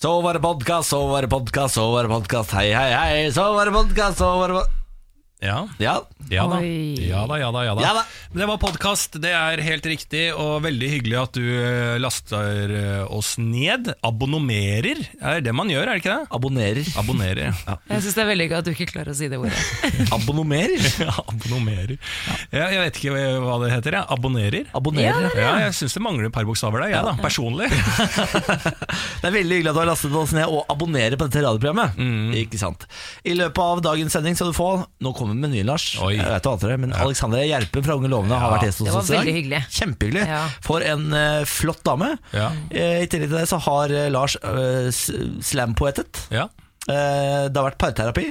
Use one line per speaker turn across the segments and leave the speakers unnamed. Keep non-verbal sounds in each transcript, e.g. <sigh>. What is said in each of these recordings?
Så var det podkast, så var det podkast, så var det podkast. Hei, hei, hei. Så var det podkast, så var det pod-
Ja.
Ja.
Ja da.
Oi.
ja da, ja da, ja da.
Ja da.
Men Det var podkast, det er helt riktig, og veldig hyggelig at du eh, laster eh, oss ned. Abonnerer er det man gjør, er det ikke det?
Abonnerer.
Abonnerer. Ja.
Jeg syns det er veldig gøy at du ikke klarer å si det ordet.
<laughs>
Abonnerer?
Abonnerer. Ja, jeg vet ikke hva det heter, jeg. Abonnerer.
Abonnerer.
Ja,
Ja, jeg syns det mangler et par bokstaver der, jeg da, personlig.
Det er veldig hyggelig at du har lastet oss ned og abonnerer på dette radioprogrammet.
Mm.
Ikke sant I løpet av dagens sending skal du få Nå kommer menyen, Lars.
Oi.
Jeg vet du hater det, men Alexandra Gjerpen fra Unge lovende har
Ja.
vært gjest hos
Det var
oss i dag.
veldig hyggelig.
Kjempehyggelig.
Ja.
For en eh, flott dame.
Ja.
Eh, I tillegg til det så har eh, Lars eh, s- slampoetet.
Ja.
Eh, det har vært parterapi.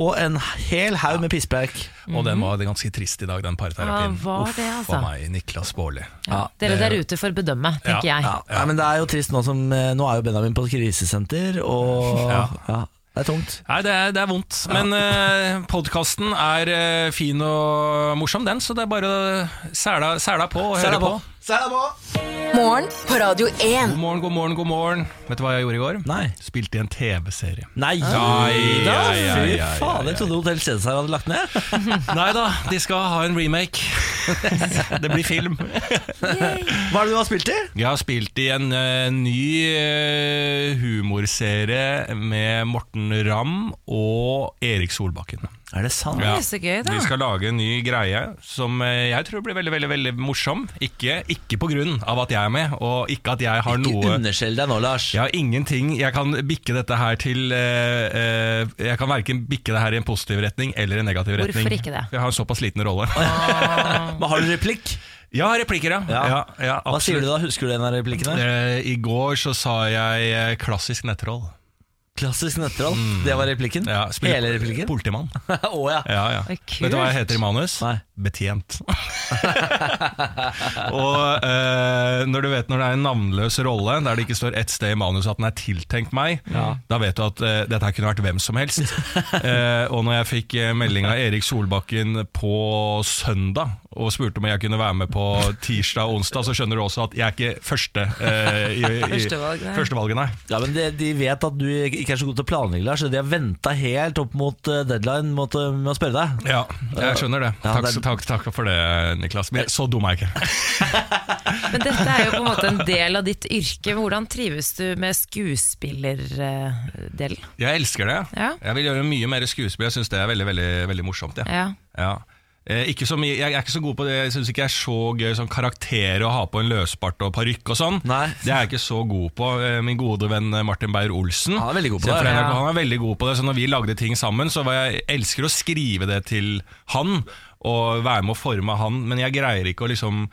Og en hel haug med pisspreik.
Og den var ganske trist i dag, den parterapien.
Mhm. Ja, var det, altså?
For meg, Niklas Baarli.
Dere
det-
der ute får bedømme, tenker
Ja,
jeg.
Ja. Nei, men det er jo trist nå som eh, Nå er jo Benjamin på krisesenter, og <laughs> ja.
Ja.
det er tungt.
Nei, det er, det er vondt. Men eh, podkasten er eh, fin og morsom, den, så det er bare å sæla, sæla på og høre på.
Sæla på!
Morgen på Radio 1.
God morgen, god morgen, god morgen. Vet du hva jeg gjorde i går?
Nei.
Spilte i en TV-serie.
Nei
Nei,
da!
ja, ja,
Fy
ja, ja,
faen, jeg
ja.
trodde Hotell Cæsar hadde lagt ned.
Nei da, de skal ha en <laughs> remake. det blir film.
Hva er det du har spilt i?
Jeg har spilt i en eh, ny eh, humorserie med Morten Ramm og Erik Solbakken.
Er det sant?
Ja.
Det er så gøy, da.
Vi skal lage en ny greie som eh, jeg tror blir veldig veldig, veldig morsom. Ikke, ikke på grunn av at jeg er med, og ikke at jeg har
Ikke
noe
underskjell deg nå, Lars.
jeg har ingenting Jeg kan bikke dette her til eh, eh, Jeg kan verken bikke det her i en positiv retning eller en negativ
Hvorfor
retning.
ikke det?
Jeg har en såpass liten rolle.
Men har du replikk?
<laughs> Ja, replikker, ja.
Ja.
ja. ja,
Hva sier du
absolutt.
da? Husker du en av replikkene?
Eh, I går så sa jeg eh, klassisk nettroll.
Klassisk nøtteroll. Det var replikken?
Mm. Ja, spiller-
Hele replikken?
Politimann.
<laughs> Å ja.
Ja, ja.
Oi, kult.
Vet du hva jeg heter i manus?
Nei.
Betjent. <laughs> og eh, når du vet når det er en navnløs rolle, der det ikke står ett sted i manus at den er tiltenkt meg, da vet du at eh, dette her kunne vært hvem som
<laughs>
helst. Eh, og når jeg fikk eh, melding av Erik Solbakken på søndag og spurte om jeg kunne være med på tirsdag og onsdag, så skjønner du også at jeg er ikke første eh, i,
<laughs>
i,
Førstevalg, nei.
førstevalget, nei.
Ja, men de, de vet at du ikke er så god til å planlegge, Lars. Så de har venta helt opp mot eh, deadline mot, eh, med å spørre deg.
Ja, jeg skjønner det.
Ja,
Takk,
det er-
takk, takk for det, Niklas. Men så dum er jeg ikke.
Men dette er jo på en måte
<laughs>
en del av ditt yrke. Hvordan trives du med skuespillerdelen?
Jeg elsker det.
Ja.
Jeg vil gjøre mye mer skuespill. Jeg syns det er veldig, veldig, veldig morsomt. Ja.
Ja.
Ja. Eh, ikke så mye, jeg er ikke så god på det Jeg syns ikke jeg er så gøy som karakter å ha på en løsbart og parykk og sånn.
Nei.
Det er jeg ikke så god på. Eh, Min gode venn eh, Martin Beyer-Olsen
Han er veldig god på
Se
det.
for deg,
Ja.
Han er veldig god på det. Så når vi lagde ting sammen, så var jeg elsker å skrive det til han og være med å forme han, men jeg greier ikke å liksom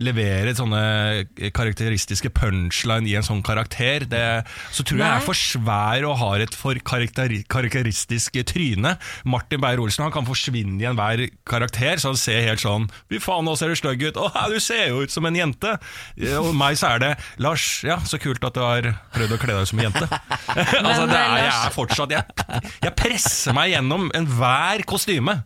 Levere sånne karakteristiske punchline i en sånn karakter. Det, så tror jeg jeg
Nei.
er for svær og har et for karakteri- karakteristisk tryne. Martin Beyer-Olsen han kan forsvinne i enhver karakter, så han ser helt sånn Fy faen, nå ser du stygg ut! Å, du ser jo ut som en jente! Eh, Og meg så er det Lars, ja, så kult at du har prøvd å kle deg ut som en jente. altså, det er, jeg er fortsatt jeg, jeg presser meg gjennom enhver kostyme.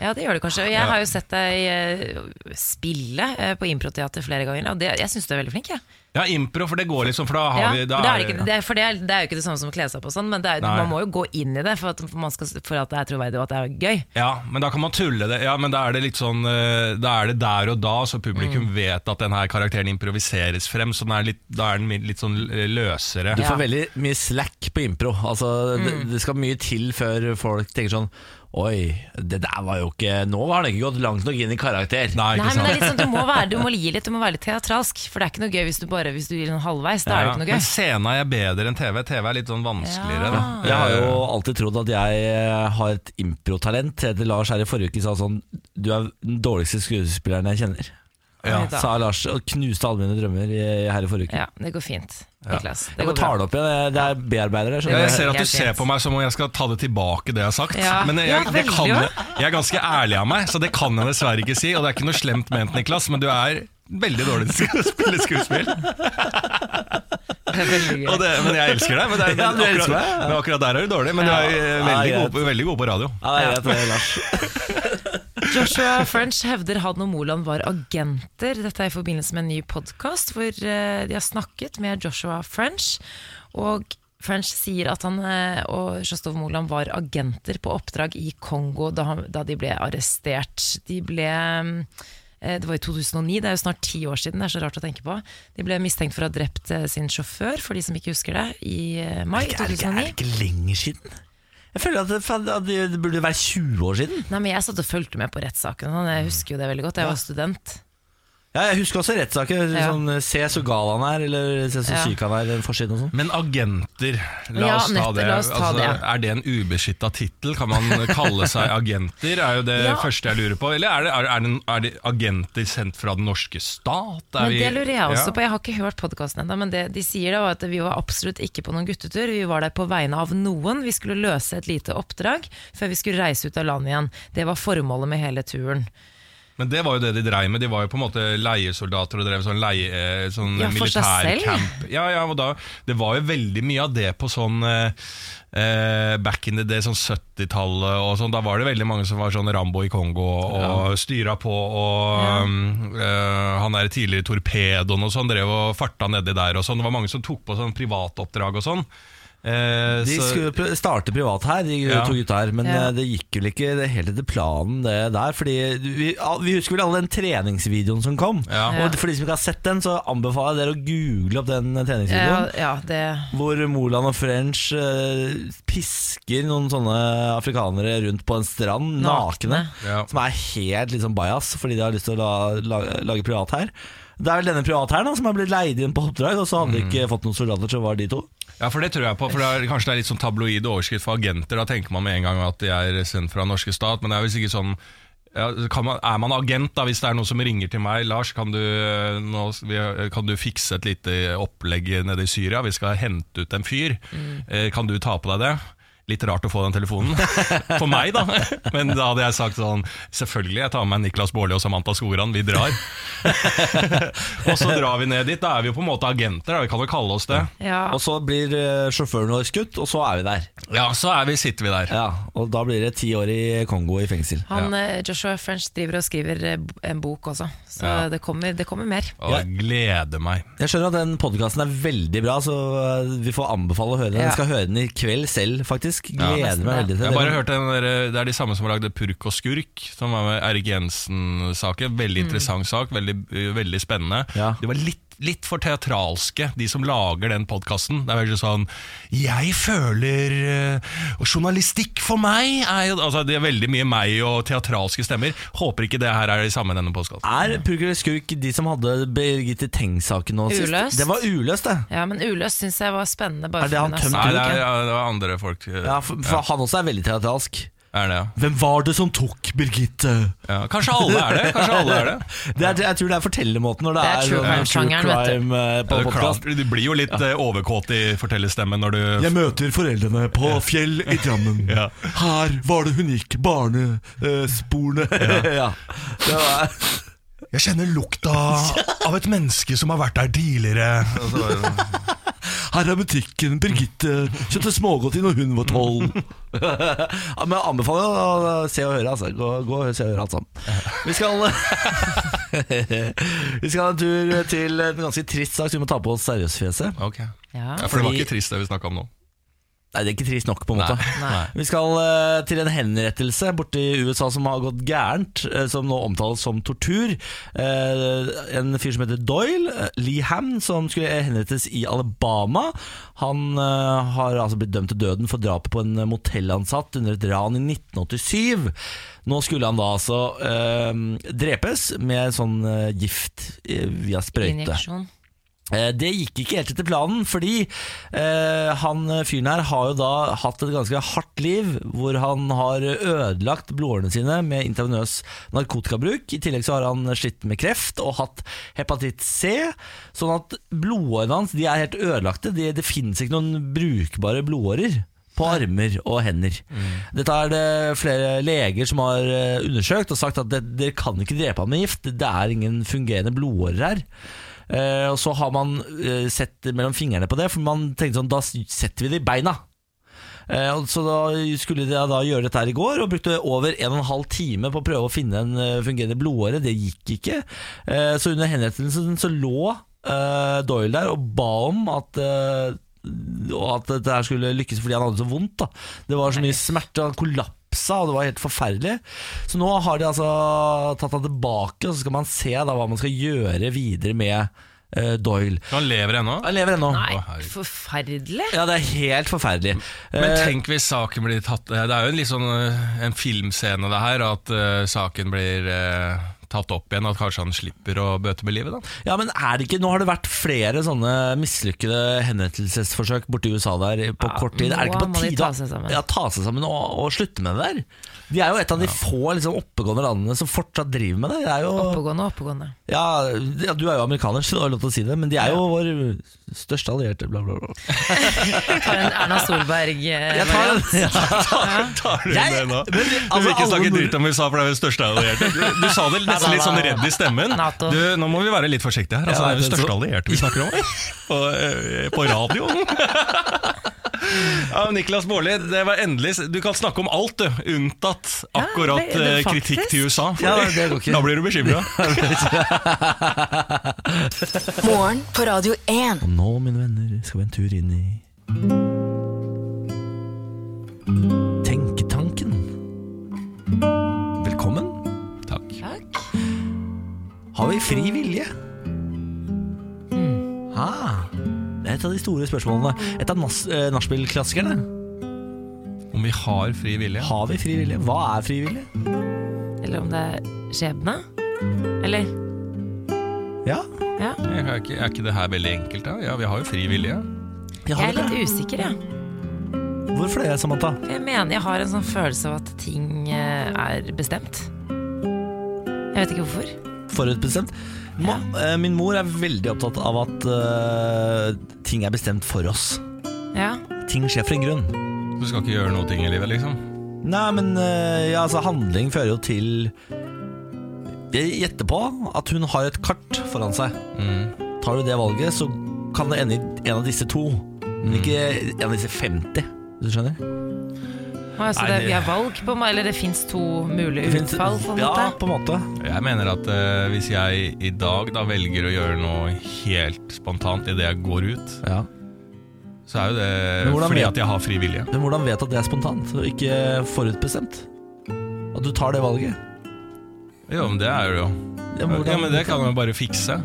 ja, det gjør du kanskje. Og jeg har jo sett deg eh, spille eh, på improteater flere ganger, og det, jeg syns du er veldig flink. Jeg.
Ja, impro, for det går liksom, for da har
Ja,
vi
men det er det ikke, det er, for det er, det er jo ikke det samme som å kle seg opp og sånn, men det er,
Nei.
man må jo gå inn i det for at, man skal, for at det er troverdig og at det er gøy.
Ja, men da kan man tulle det. Ja, men da er det litt sånn eh, Da er det der og da, så publikum
Mm.
vet at den her karakteren improviseres frem. Så den er litt, da er den litt sånn eh, løsere.
Du får veldig mye slack på impro. Altså, det, det skal mye til før folk tenker sånn Oi, det der var jo ikke Nå har det ikke gått langt nok inn i karakter.
Nei,
Nei,
ikke
men det
sant?
er litt sånn, du må, være, du
<laughs>
må gi litt, du må være litt teatralsk, for det er ikke noe gøy hvis du bare hvis du gir den halvveis. Da er det
Ja,
ikke noe
men
gøy.
scenen er bedre enn TV. TV er litt sånn vanskeligere. Da.
Jeg har jo alltid trodd at jeg eh, har et improtalent. Heter Lars her i forrige uke sa sånn Du er den dårligste skuespilleren jeg kjenner.
Ja.
Sa Lars og knuste alle mine drømmer i- her i forrige uke.
Ja, det går fint. Niklas. Det
Jeg
går
bare tar det opp igjen. jeg- Det er bearbeider her.
Ja,
skjønner
jeg
du.
ser at du
Helt
ser
enig.
på meg som om jeg skal ta det tilbake, det jeg har sagt.
Ja.
Men jeg,
Ja,
det
veldig,
kan,
ja.
jeg jeg er ganske ærlig av meg, så det kan jeg dessverre ikke si. Og det er ikke noe slemt ment, Niklas, men du er veldig dårlig til å spille skuespill.
Det er veldig gøy.
Og det, men jeg elsker deg. Men, det er,
Ja, du elsker
akkurat,
meg, ja.
men akkurat der er du dårlig. Men
Ja.
du er eh,
Ja,
veldig,
greit.
god, på- veldig god på radio.
Ja, det er greit, det, Lars.
Joshua French hevder han og Moland var agenter. Dette er i forbindelse med en ny podkast hvor eh, de har snakket med Joshua French. Og French sier at han eh, og Sjostov Moland var agenter på oppdrag i Kongo da, han, da de ble arrestert. De ble eh, Det var i 2009, det er jo snart ti år siden, det er så rart å tenke på. De ble mistenkt for å ha drept eh, sin sjåfør, for de som ikke husker det, i eh, mai
Er det ikke, er
2009.
det ikke lenger siden? Jeg føler at det, faen, at det burde være 20 år siden.
Nei, men Jeg satt og fulgte med på rettssaken. og Jeg husker jo det veldig godt. Jeg var student.
Ja, jeg husker også rettssaker.
Ja.
Sånn, se så gal han er, eller se så
Ja.
syk han er, forsiden og sånn.
Men agenter, la
Ja,
oss ta
nettopp,
det.
la oss ta
altså,
det.
Er det en ubeskytta tittel? Kan
<laughs>
man kalle seg agenter? Er jo det
Ja.
første jeg lurer på. Eller er det, er, er det, er det agenter sendt fra den norske stat? Er
Men
vi-
det lurer jeg også
Ja.
på. Jeg har ikke hørt podkasten ennå, men det de sier da var at vi var absolutt ikke på noen guttetur. Vi var der på vegne av noen. Vi skulle løse et lite oppdrag før vi skulle reise ut av landet igjen. Det var formålet med hele turen.
Men det var jo det de dreiv med. De var jo på en måte leiesoldater og drev sånn, leie, eh, sånn
Ja, for seg selv.
militærcamp. Ja, ja, og da, det var jo veldig mye av det på sånn eh, eh, back in the day, sånn 70-tallet og sånn. Da var det veldig mange som var sånn Rambo i Kongo og styra på og um, eh, han der tidligere torpedoen og sånn drev og farta nedi der og sånn. Det var mange som tok på sånn privatoppdrag og sånn. Eh,
De
så-
skulle pr- starte privat her, de
Ja.
to gutta her, men
Ja.
eh, det gikk vel ikke det helt etter planen det der. Fordi vi, al- vi husker vel alle den treningsvideoen som kom.
Ja.
Og for de som ikke har sett den, så anbefaler jeg dere å google opp den eh,
Ja,
treningsvideoen.
Eh, ja, det
Hvor Moland og French eh, pisker noen sånne afrikanere rundt på en strand, nakne.
Nakne.
Ja.
Som er helt liksom bajas, fordi de har lyst til å la, la, lage privat her. Det er vel denne privathæren da, som har blitt leid inn på oppdrag, og så hadde de ikke fått noen soldater, så var de to.
Ja, for det tror jeg på, for det er, kanskje det er litt sånn tabloid overskrift for agenter, da tenker man med en gang at de er sendt fra norske stat, men det er visst ikke sånn ja, kan man, er man agent da, hvis det er noen som ringer til meg Lars, kan du, eh, nå, vi- kan du fikse et lite opplegg nede i Syria, vi skal hente ut en fyr eh, kan du ta på deg det? Litt rart å få den telefonen For meg da, <laughs> men da hadde jeg sagt sånn Selvfølgelig, jeg tar med meg Niklas Bårli og Samantha Skoran, vi drar <laughs> Og så drar vi ned dit, da er vi jo på en måte agenter da, vi kan jo kalle oss det
ja.
Og så blir eh, sjåføren vår skutt, og så er vi der.
Ja, så er vi, sitter vi der.
Ja, Og da blir det ti år i Kongo i fengsel.
Han, eh, Joshua French driver og skriver eh, b- en bok også, så
Ja.
det, kommer, det kommer mer.
Og jeg gleder meg.
Jeg skjønner at den podkasten er veldig bra, så eh, vi får anbefale å høre den.
Ja.
Jeg skal høre den i kveld selv, faktisk.
Ja.
Gleder meg veldig til
Jeg bare
det.
hørte den der, Det er de samme som har lagd 'Purk og skurk', som var med Erik Jensen-saken. Veldig interessant sak, veldig, øh, veldig spennende.
Ja.
De var litt, litt for teatralske, de som lager den podkasten. Det er veldig sånn 'Jeg føler øh, Og journalistikk for meg er jo altså, Det er veldig mye meg og teatralske stemmer. Håper ikke det her er det samme i denne podkasten.
Er Purk eller skurk de som hadde Birgitte Tengs-saken nå sist?
Uløst.
Det var uløst, det.
Ja, men Uløst syns jeg var spennende. Bare
Er det han
for hun
tømt
Nei,
har-
det er, det er andre folk. øh,
Ja, for, for Han også er veldig teatralsk.
Er det, ja.
Hvem var det som tok Birgitte?
ja. Kanskje alle er det. Kanskje alle er det.
Det er, jeg tror det er fortellermåten når det,
Det er true
er, sånn
crime-sjangeren,
true
vet du.
crime eh, på
Ja, det er klart.
podkast.
Du blir jo litt eh, overkåt i fortellerstemmen når du
Jeg møter foreldrene på fjell i Drammen.
Ja.
Her var det hun gikk barnesporene.
<laughs> ja. Det var,
Jeg kjenner <laughs> lukta av et menneske som har vært der tidligere.
Her er butikken. Birgitte kjøpte smågodt i når hun var
<laughs>
tolv.
ja, men jeg anbefaler å se og høre, altså. Gå, gå og se og høre <laughs> alt sammen. Vi skal <laughs> Vi skal ha en tur til en ganske trist sak, så vi må ta på oss seriøsfjeset.
Ok.
Ja.
Ja, for det var ikke trist det vi snakka om nå.
Nei, det er ikke trist nok, på en måte.
Nei.
Vi skal eh, til en henrettelse borte i USA som har gått gærent, eh, som nå omtales som tortur. Eh, en fyr som heter Doyle, eh, Lee Ham, som skulle henrettes i Alabama. Han eh, har altså blitt dømt til døden for drapet på en motellansatt under et ran i 1987. Nå skulle han da altså eh, drepes med sånn eh, gift eh, via sprøyte. Eh,
Injeksjon.
Det gikk ikke helt etter planen, fordi eh, han eh, fyren her har jo da hatt et ganske hardt liv, hvor han har ødelagt blodårene sine med intravenøs narkotikabruk. I tillegg så har han slitt med kreft og hatt hepatitt C, sånn at blodårene hans de er helt ødelagte. De, det finnes ikke noen brukbare blodårer. På armer og hender. Dette er det flere leger som har eh, undersøkt og sagt at det- dere kan ikke drepe ham med gift. Det er ingen fungerende blodårer her. Eh, og så har man eh, sett mellom fingrene på det, for man tenkte sånn, da s- setter vi det i beina. Eh, og så da skulle de da gjøre dette her i går, og brukte over en og en halv time på å prøve å finne en eh, fungerende blodåre. Det gikk ikke. Eh, så under henrettelsen så lå eh, Doyle der og ba om at eh, og at dette her skulle lykkes fordi han hadde så vondt. da Det var så mye smerte, og han kollapsa, og det var helt forferdelig. Så nå har de altså tatt han tilbake, og så skal man se da hva man skal gjøre videre med eh, Doyle.
Han lever ennå.
Han lever ennå.
Nei,
Å, herregud.
forferdelig.
Ja, det er helt forferdelig.
Men
Eh,
tenk hvis saken blir tatt Det er jo en litt sånn eh, en filmscene, det her. At eh, saken blir eh, tatt opp igjen. At kanskje han slipper å bøte med livet, da.
Ja, men er det ikke, Nå har det vært flere sånne mislykkede henrettelsesforsøk borti USA der på
Ja,
kort tid. Er det
nå
ikke
må
på
de
tide
ta
å-
seg sammen.
Ja, ta seg sammen og, og slutte med det der? De er jo et av de få liksom, oppegående landene som fortsatt driver med det. det er jo,
Oppegående, oppegående.
ja, ja, Du er jo amerikaner, så du har lov til å si det, men de er jo vår største allierte, bla, bla, bla.
Jeg tar en Erna Solberg. eh,
Jeg tar
variant.
en <laughs> ja.
Tar du
Jeg-
det nå?
men,
du vil
altså,
ikke
alle
snakke
nord-
dritt om USA, for det er jo det største allierte. Du, du sa det nesten litt sånn redd i stemmen.
NATO.
Du, nå må vi være litt forsiktige her. Altså, det er jo det største allierte vi snakker om. På, eh, på <laughs> radioen. Ja, Niklas Baarli, det var endelig Du kan snakke om alt, du. Unntatt akkurat
Ja, det- det-
eh, kritikk
faktisk.
til USA.
Ja, det går ikke.
Da blir du bekymra.
Morgen på Radio 1.
Og nå, mine venner, skal vi en tur inn i Tenketanken. Velkommen.
<laughs> Takk.
Takk.
Har vi fri vilje?
Hmm.
Ah, det er et av de store spørsmålene. Et av nas- eh, nachspiel-klassikerne.
Om vi har fri vilje?
Har vi fri vilje? Hva er fri vilje?
Eller om det er skjebne? Eller?
Ja,
Ja.
Jeg kan ikke, er ikke det her veldig enkelt, da? Ja, vi har jo fri vilje.
jeg
Jeg
har
er
det.
litt usikker, jeg.
Hvorfor det, Samantha?
For Jeg mener jeg har en sånn følelse av at ting eh, er bestemt. Jeg vet ikke hvorfor.
Forutbestemt? Ma, eh, Min mor er veldig opptatt av at eh, ting er bestemt for oss.
Ja.
Ting skjer for en grunn.
Du skal ikke gjøre noe ting i livet, liksom?
Nei, men eh, ja, altså, handling fører jo til Jeg gjetter på at hun har et kart foran seg.
Mm.
Tar du det valget, så kan det ende i en av disse to,
Mm.
men ikke en av disse 50. Du skjønner?
Altså,
Nei,
det,
det-
vi har valg på meg, eller det fins to mulige
Det finnes-
utfall, på en
ja,
måte.
på en måte.
Jeg mener at eh, hvis jeg i dag da velger å gjøre noe helt spontant idet jeg går ut,
Ja.
så er jo
Men
det
hvordan
fordi
vet-
at jeg har fri vilje.
Men hvordan vet at det er spontant og ikke forutbestemt? At du tar det valget?
Jo, men det er det jo.
Ja, men
Ja,
hvordan-
men det kan jeg bare fikse.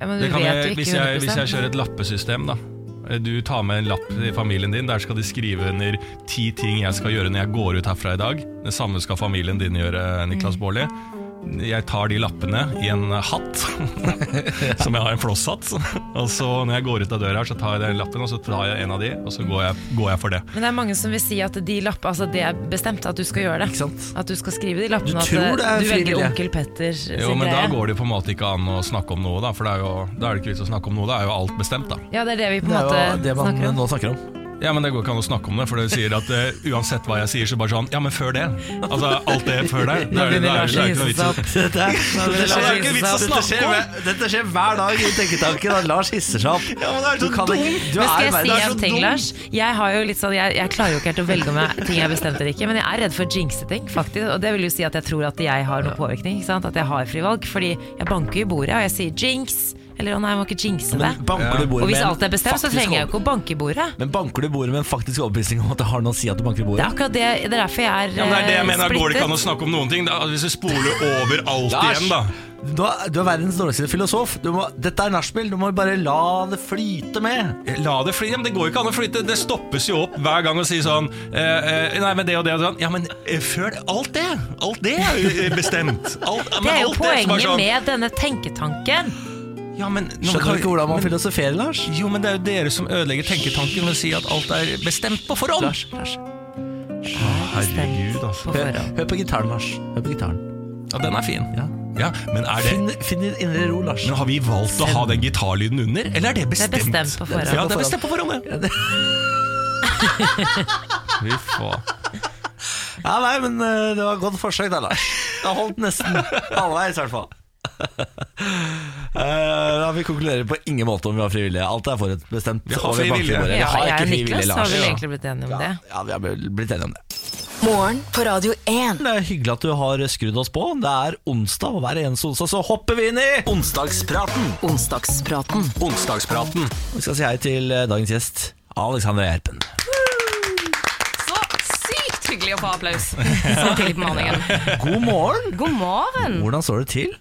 Ja, men du
Det kan
vet jo
jeg,
ikke
hvis, jeg,
100%.
hvis jeg kjører et lappesystem, da. Du tar med en lapp i familien din. Der skal de skrive under ti ting jeg skal gjøre når jeg går ut herfra i dag. Det samme skal familien din gjøre,
Mm.
Niklas Baarli. Jeg tar de lappene i en hatt, <laughs> som jeg har en flosshatt. Og så når jeg går ut av døra her, så tar jeg den lappen, og så tar jeg en av de, og så går jeg, går jeg for det.
Men det er mange som vil si at de lapp, altså det er bestemt at du skal gjøre
Ikke
det.
sant?
At du skal skrive de lappene,
Du
og at
tror
eh,
det er
du velger
frivillig.
onkel Petter sin
Jo, men da
greie.
går det jo på en måte ikke an å snakke om noe, da. For det er jo, da er det ikke vits å snakke om noe, da er jo alt bestemt, da.
Ja, det er det vi på
Det
en måte
er jo det man
snakker om.
nå snakker om.
Ja, men Det går ikke an å snakke om det, for det sier at eh, uansett hva jeg sier, så bare sånn Ja, men før det. Altså, alt det før det. Det
Nå
er, det er, det
begynner
er,
Lars å
ikke noe
hisse
vits
seg
i.
opp.
Dette er,
det er
Lars
ikke
hisser seg
vits å
opp. Dette
snakke
skjer
om.
hver- Dette skjer hver dag i tenketanken at Lars hisser seg opp.
Ja, men det er
Du
så
kan
dumt.
ikke- du
Men skal
er
jeg
bare-
si
det er så
en ting,
dumt.
Lars? Jeg, har jo litt sånn, jeg, jeg klarer jo ikke helt å velge om jeg, ting jeg bestemte eller ikke, men jeg er redd for å jinxe ting, faktisk. Og det vil jo si at jeg tror at jeg har noe påvirkning, ikke sant? at jeg har frivalg. Fordi jeg banker jo i bordet, og jeg sier jinx, eller å nei, jeg må ikke jinxe det.
Men banker du
Ja.
bordet
Og hvis
med en
alt er bestemt, så
faktisk
trenger jeg jo
over-
ikke å banke i bordet.
Men banker du bordet med en faktisk overbevisning om at det har noe å si at du banker i
Det
bordet?
er akkurat det, det er derfor jeg er
Ja, men det er det jeg
eh,
mener. Da går det ikke an å
splittet.
snakke om noen ting. Da, hvis du spoler over alt
Lars!
igjen, da.
Du er, du er verdens dårligste filosof. Du må, dette er nachspiel, du må bare la det flyte med.
Eh, La det fly. Ja, men det går ikke an å flytte. Det stoppes jo opp hver gang og sier sånn eh, eh, Nei, men det og det og sånn. Ja, men eh, før det Alt det! Alt det er jo eh, bestemt. Alt, men
Det er jo
alt så bare
poenget
sånn,
med denne tenketanken.
ja, men, nå
Skjønner
kan-
du ikke hvordan man
men-
filosoferer, Lars?
Jo, men det er jo dere som ødelegger tenketanken ved å si at alt er bestemt på forhånd.
Lars, Lars.
Herregud, altså.
På
Hør,
forhånd.
hør på gitaren, Lars. Hør på gitaren.
Ja, den er fin.
Ja.
Ja, men er det
Finn, finn din indre ro, Lars.
men har vi valgt å ha den gitarlyden under, eller er det
Det er
bestemt?
bestemt på forhånd.
Ja, det er bestemt på forhånd, ja. <laughs> Fy faen.
Ja, nei, men eh, det var et godt forsøk da, Lars. Det har holdt nesten halvveis, i hvert
<laughs>
fall. Eh, da Vi konkluderer på ingen måte om vi har frivillige. Alt er forutbestemt.
Vi har
og banker i
frivillige.
bordet. Vi
Ja,
har
jeg
ikke
og
frivillige,
Niklas har
Lars.
vel egentlig blitt enige om det.
Ja, ja, vi har vel blitt enige om det.
Morgen på Radio 1.
Det er hyggelig at du har skrudd oss på. Det er onsdag, og hver eneste onsdag så hopper vi inn i onsdagspraten.
Onsdagspraten.
Vi skal si hei til eh, dagens gjest, Alexander Gjerpen.
Så sykt hyggelig å få
<laughs>
applaus så tidlig på morgenen.
God morgen!
God
Mm.
morgen.
Hvordan står det til?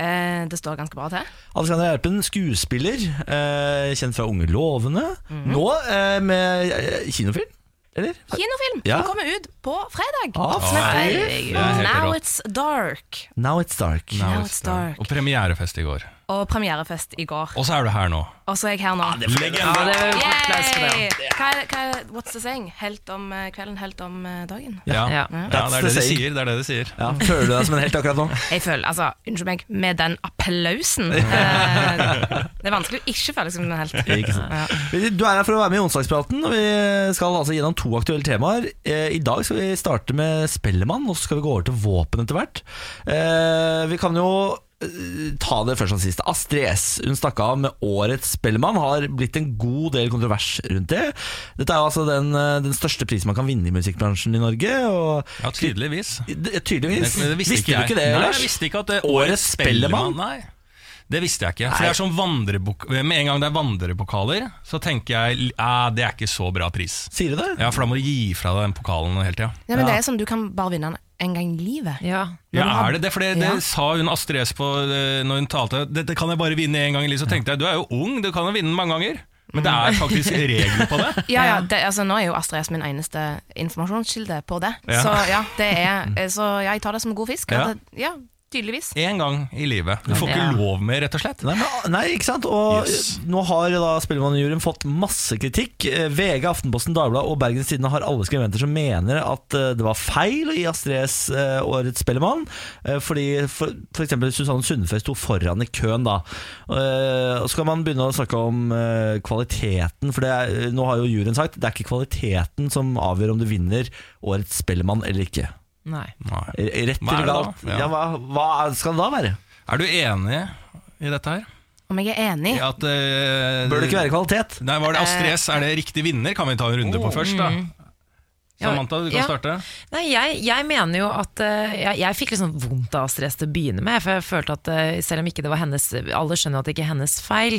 Eh, det står ganske bra til.
Alexander Gjerpen, skuespiller, eh, kjent fra Unge lovende. Nå eh, med eh, kinofilm, eller?
Kinofilm
Ja.
som kommer ut på fredag.
Ah,
Som heter
herregud. Det er helt
Now
rått.
It's Dark.
Now it's dark.
Now it's dark.
Og premierefest i går.
Og premierefest i går.
Og så er du her nå.
Og så er jeg her nå.
Legende.
Det er jo applaus for det.
Yay! Hva er, hva er, what's the saying? Helt om eh, kvelden, helt om eh, dagen.
Ja.
Ja.
Ja. det er det
That's the
de
saying.
sier. Det er det de sier.
Ja, føler du deg som en helt akkurat nå?
Jeg føler, altså, Unnskyld meg, med den <laughs> applausen eh, Det er vanskelig å ikke føle seg som en helt.
Ikke sant.
Ja.
Du er her for å være med i Onsdagspraten, og vi skal altså gjennom to aktuelle temaer. Eh, I dag skal vi starte med Spellemann, og så skal vi gå over til våpen etter hvert. Eh, Vi kan jo eh, ta det først og sist. Astrid S hun stakk av med årets Spellemann. Har blitt en god del kontrovers rundt det. Dette er jo altså den, eh, den største prisen man kan vinne i musikkbransjen i Norge. Og
Ja, tydeligvis.
Det- Tydeligvis.
Det- det
visste du ikke det,
jeg. Nei,
Lars?
jeg visste ikke at eh, det
Årets Spellemann?
Nei. Det visste jeg ikke. For det er sånn vandrebok Med en gang det er vandrepokaler, så tenker jeg eh, det er ikke så bra pris.
Sier du det?
Ja, For da må du gi fra deg den pokalen hele tida.
Ja, men Det er sånn, du kan bare vinne den en gang i livet.
Ja.
Ja, er det det? For det, det
Ja.
sa hun Astrid S på eh, når hun talte. Dette kan jeg bare vinne én gang i livet. Så tenkte jeg du er jo ung, du kan jo vinne den mange ganger. Men det er faktisk regler på <laughs> det.
Ja, ja, det, altså Nå er jo Astrid S min eneste informasjonskilde på det.
Ja.
Så ja, det er eh, Så ja, jeg tar det som en god fisk.
Ja.
at det- ja tydeligvis.
Én gang i livet. Du får ikke
Ja.
lov mer, rett og slett.
Nei, men, ah, nei, ikke sant? Og eh,
Yes.
nå har da Spellemannjuryen fått masse kritikk. Eh, VG, Aftenposten, Dagbladet og Bergens Tidende har alle skribenter som mener at eh, det var feil å gi Astrid S eh, årets Spellemann, eh, fordi for, for eksempel Susanne Sundfør sto foran i køen da. Eh, Og så kan man begynne å snakke om eh, kvaliteten, for det er, eh, nå har jo juryen sagt det er ikke kvaliteten som avgjør om du vinner årets Spellemann eller ikke.
Nei.
Nei.
R- Rett
Hva er
eller
det da?
galt.
Ja.
Ja, hva, hva skal det da være?
Er du enig i dette her?
Om jeg er enig?
I at eh,
Bør det ikke være kvalitet?
Nei, var det
Eh,
Astrid S? Er det riktig vinner? Kan vi ta en runde på først, da? Samantha, du kan
Mm. Ja.
starte.
Nei, jeg, jeg mener jo at eh, jeg, jeg fikk litt sånn vondt av stress til å begynne med. For jeg følte at eh, selv om ikke det var hennes Alle skjønner jo at det ikke er hennes feil.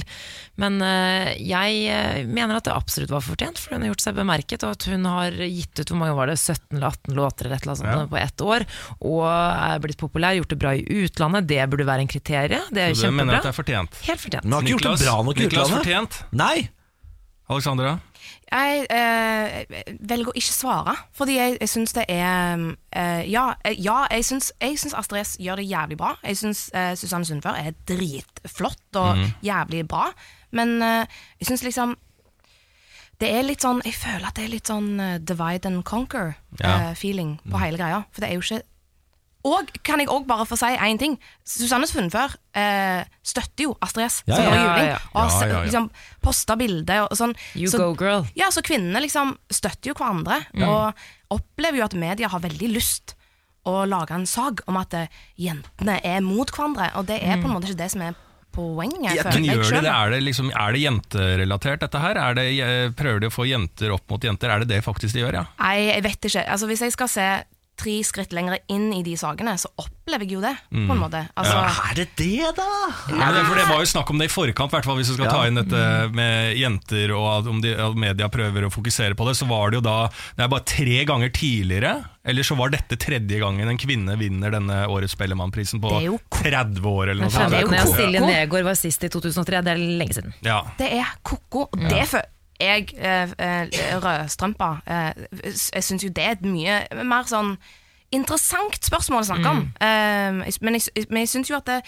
Men eh, jeg eh, mener at det absolutt var fortjent, for hun har gjort seg bemerket. Og at hun har gitt ut hvor mange var det, 17 eller 18 låter eller et eller annet sånt på ett år. Og er blitt populær, gjort det bra i utlandet. Det burde være en kriterie. Det er
Du mener at det
kjempebra.
er fortjent.
Helt fortjent.
Hun har ikke gjort det bra nok i
Niklas
utlandet.
fortjent.
Nei!
Alexandra?
Jeg eh, velger å ikke svare, fordi jeg, jeg syns det er eh, Ja, eh, ja jeg syns jeg syns Astrid S gjør det jævlig bra. Jeg syns eh, Susanne Sundfør er dritflott og jævlig bra, men eh, jeg syns liksom det er litt sånn, Jeg føler at det er litt sånn eh, divide and
Ja.
conquer-feeling på hele greia. For det er jo ikke Og kan jeg òg bare få si én ting? Susanne Sundfør eh, støtter jo Astrid S.
Ja,
som
ja.
var juling,
Ja, ja.
Og har
Ja, ja, ja.
liksom, posta bilder og sånn.
You
så,
go, girl.
ja, så kvinnene liksom støtter jo hverandre,
Mm.
og opplever jo at media har veldig lyst å lage en sag om at eh, jentene er mot hverandre, og det er på en måte ikke det som er poenget.
Ja,
føler
Mm. Men
jeg
gjør de
selv.
det? Er det, liksom, er det jenterelatert, dette her? Er det, eh, prøver de å få jenter opp mot jenter? Er det det faktisk de gjør, ja?
Nei, jeg vet ikke. Altså, hvis jeg skal se tre skritt lenger inn i de sagene, så opplever jeg jo det, på en
Mm.
måte. Altså,
Er det det, da?
Nei, det, for det var jo snakk om det i forkant, hvertfall hvis du skal
Ja.
ta inn dette med jenter og at om de, at media prøver å fokusere på det, så var det jo da Det er bare tre ganger tidligere, eller så var dette tredje gangen en kvinne vinner denne årets Spellemannprisen på
Det er jo
30 år, eller noe
Jeg
sånt.
skjønner
det er
at
jo
Silje
ko-ko.
Negård var sist i 2003. Det er lenge siden.
Ja.
Det er koko, og det føler jeg eh, eh, Rødstrømpa eh, s- Jeg syns jo det er et mye mer sånn interessant spørsmål å snakke om. Eh, jeg s- men jeg, s- men jeg syns jo at det,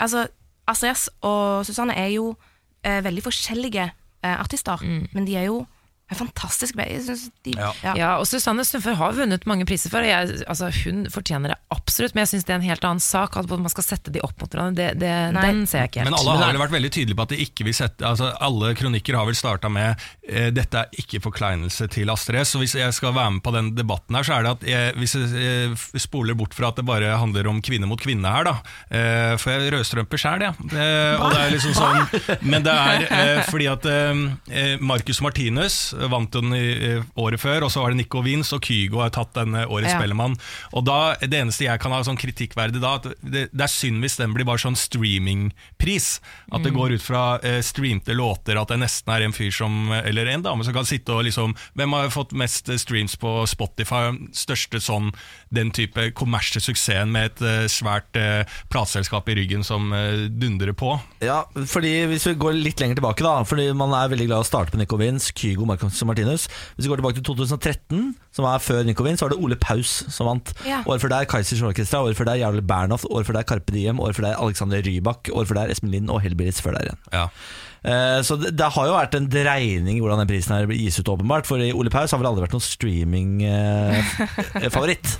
altså, Astrid S og Susanne er jo eh, veldig forskjellige eh, artister, men de er jo er fantastisk be- Jeg synes de
Ja.
ja.
Ja, og Susanne Sundfør har vunnet mange priser for, og jeg, altså, hun fortjener det absolutt, men jeg syns det er en helt annen sak. At man skal sette de opp mot hverandre, det, det,
Nei.
den ser jeg ikke helt.
Men alle har vel vært veldig tydelige på at de ikke vil sette altså Alle kronikker har vel starta med eh, 'dette er ikke forkleinelse til Astrid S'. Så hvis jeg skal være med på den debatten her, så er det at jeg, hvis jeg eh, f- spoler bort fra at det bare handler om kvinne mot kvinne her, da. Eh, for jeg er rødstrømpe sjæl, jeg. Eh, og det er liksom sånn Men det er eh, fordi at eh, eh, Marcus Martinus, vant den i, i eh, året før, og så var det Nico Wins, og Kygo har tatt denne årets
Ja.
Spellemann. Og da, Det eneste jeg kan ha sånn kritikkverdig da, at det, det er synd hvis den blir bare sånn streamingpris. At det går ut fra eh, streamte låter, at det nesten er en fyr som, eller en dame som kan sitte og liksom Hvem har fått mest eh, streams på Spotify? Største sånn, den type kommersielle suksessen med et eh, svært eh, plateselskap i ryggen som eh, dundrer på.
Ja, fordi Hvis vi går litt lenger tilbake, da Fordi man er veldig glad i å starte med Nico Vince, Kygo Marcus Martinus. Hvis vi går tilbake til 2013, som er før Nico Vince, så var det Ole Paus som vant.
Ja.
Året før der Kaizers Orkestra, året før der Jarle Bernhoft, året før der Carpe Diem, året før der Alexander Rybak, året før der Espen Lind og Hellbillies før der igjen.
Ja.
Eh, Så det, det har jo vært en dreining i hvordan den prisen her gis ut, åpenbart. For i Ole Paus har vel aldri vært noen eh, <laughs> streaming-favoritt.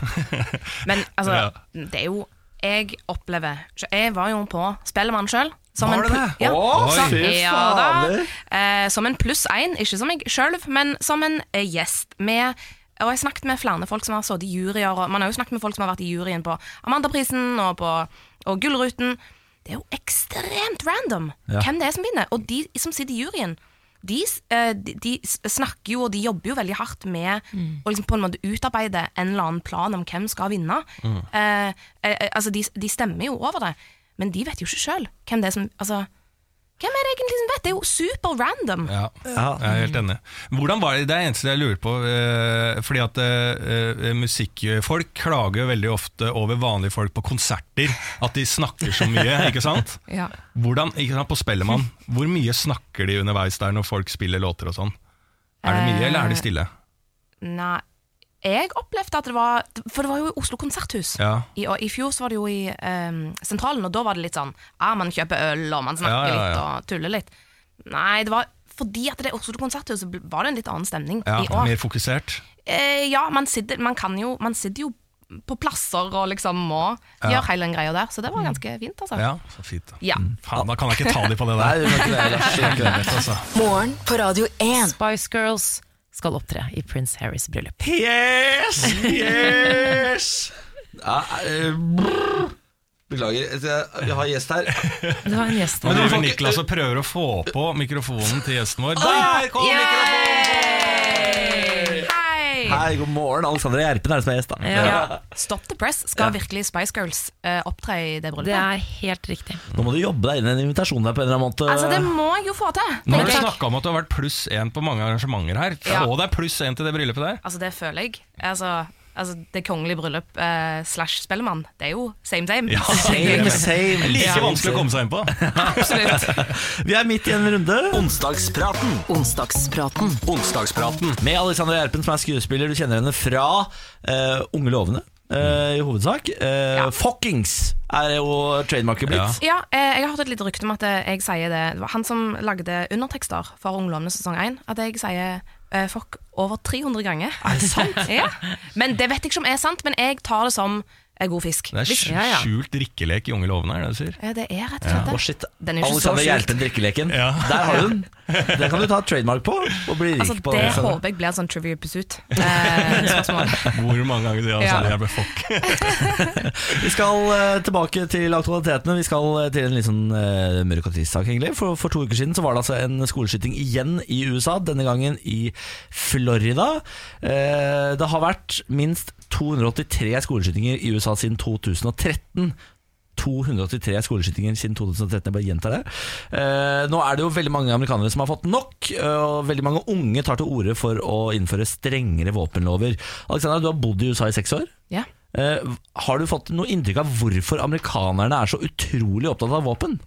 Men altså,
Ja.
det er jo Jeg opplever Jeg var jo på Spellemann sjøl. Som
Var
en
du
plu-
det?
Ja,
Å,
som,
fy
ja da. Eh, som en pluss én, ikke som meg sjøl, men som en eh, gjest. Med, og jeg snakket med flere folk som har sittet i juryer, og man har jo snakket med folk som har vært i juryen på Amandaprisen og på og Gullruten. Det er jo ekstremt random
Ja.
hvem det er som vinner. Og de som sitter i juryen, de, s- eh, de, de s- snakker jo og de jobber jo veldig hardt med å liksom på en måte utarbeide en eller annen plan om hvem skal vinne. Eh, eh, eh, altså de, de stemmer jo over det, men de vet jo ikke sjøl hvem det er som altså, Hvem er det egentlig som vet? Det er jo super random.
Ja,
Ja.
jeg er helt enig. Hvordan var det, det er det eneste jeg lurer på, eh, fordi at eh, eh, musikkfolk klager jo veldig ofte over vanlige folk på konserter, at de snakker så mye, <laughs> ikke sant?
Ja.
Hvordan, ikke sant, på Spellemann, hvor mye snakker de underveis der når folk spiller låter og sånn? Er det mye, eller er de stille?
Nei, jeg opplevde at det var For det var jo i Oslo Konserthus.
Ja,
I, og I fjor så var det jo i ehm, sentralen, og da var det litt sånn ah, Man kjøper øl, og man
Ja,
snakker
ja,
litt
ja.
og tuller litt. Nei, det var fordi at det er Oslo Konserthus, så var det en litt annen stemning
ja
i år.
mer fokusert.
Eh, ja, man sitter, man, kan jo, man sitter jo på plasser og liksom må gjøre hele den greia der, så det var ganske fint, altså.
Mm. Ja, Mm. så fint da.
Ja.
Faen, da kan jeg ikke ta de på det
Nei,
der.
du kan ikke det,
<laughs>
Lars. Du kan ikke det.
Altså.
Morgen på Radio 1.
Spice Girls skal opptre i prins Harrys bryllup.
Yes! Yes! Ja, eh, brr. Beklager, jeg- vi har gjest her.
Du har en gjest
Nå
her.
driver Niklas og prøver å få på mikrofonen til gjesten vår. Der kom
Hei!
Hei, god morgen. Alexandra Gjerpen er det som er gjest, da.
Ja,
Stop the press. Skal virkelig Spice Girls eh, opptre i det
det
bryllupet?
er helt riktig.
Nå må du jobbe deg inn i en invitasjon der på en eller annen måte.
Altså, det må jeg jo få til!
Nå har
tenker
du
jeg.
snakka om at du har vært pluss én på mange arrangementer her. Få
Ja.
deg pluss én til det bryllupet der.
Altså, det føler jeg. Altså, altså det kongelige bryllup eh, slash Spellemann, det er jo same same.
Ja,
Same, same.
Like
Same,
vanskelig å komme seg inn på.
Absolutt.
same. Vi er midt i en runde
Onsdagspraten.
Onsdagspraten.
Onsdagspraten.
med Alexandra Gjerpen, som er skuespiller. Du kjenner henne fra eh, Unge lovende, eh, i hovedsak. Eh, Fockings er jo trademarket blitt.
Ja.
<laughs> Ja, eh, jeg har hørt et lite rykte om at eh, jeg sier det Det var han som lagde undertekster for Unglovene sesong 1, at jeg sier eh, fuck over 300 ganger. Er det sant? <laughs> ja. Men det vet jeg ikke om er sant, men jeg tar det som eh, god fisk.
Det er
Hvis-
Ja, ja.
skj- skjult drikkelek i Unge lovende, er det det du sier?
Eh, det er rett og slett
Å,
det.
shit.
Den er jo ikke
Alexander
så skjult.
Gjerpen, drikkeleken.
Ja.
Der har du den. Den kan du ta trademark på og bli rik
Altså,
på.
det
Alexandra.
håper jeg blir en sånn trivia pursuit. Eh, spørsmål.
Hvor mange ganger sier han
Ja.
sånn? Jeg ble fuck.
Vi skal eh, tilbake til aktualitetene. Vi skal eh, til en litt sånn eh, mørk og trist sak, egentlig. For, for to uker siden så var det altså en skoleskyting igjen i USA, denne gangen i Florida. Eh, det har vært minst 283 skoleskytinger i USA siden 2013. 283 skoleskytinger siden 2013. Jeg bare gjentar det. Eh, nå er det jo veldig mange amerikanere som har fått nok, eh, og veldig mange unge tar til orde for å innføre strengere våpenlover. Alexandra, du har bodd i USA i seks år.
Ja.
Eh, har du fått noe inntrykk av hvorfor amerikanerne er så utrolig opptatt av våpen?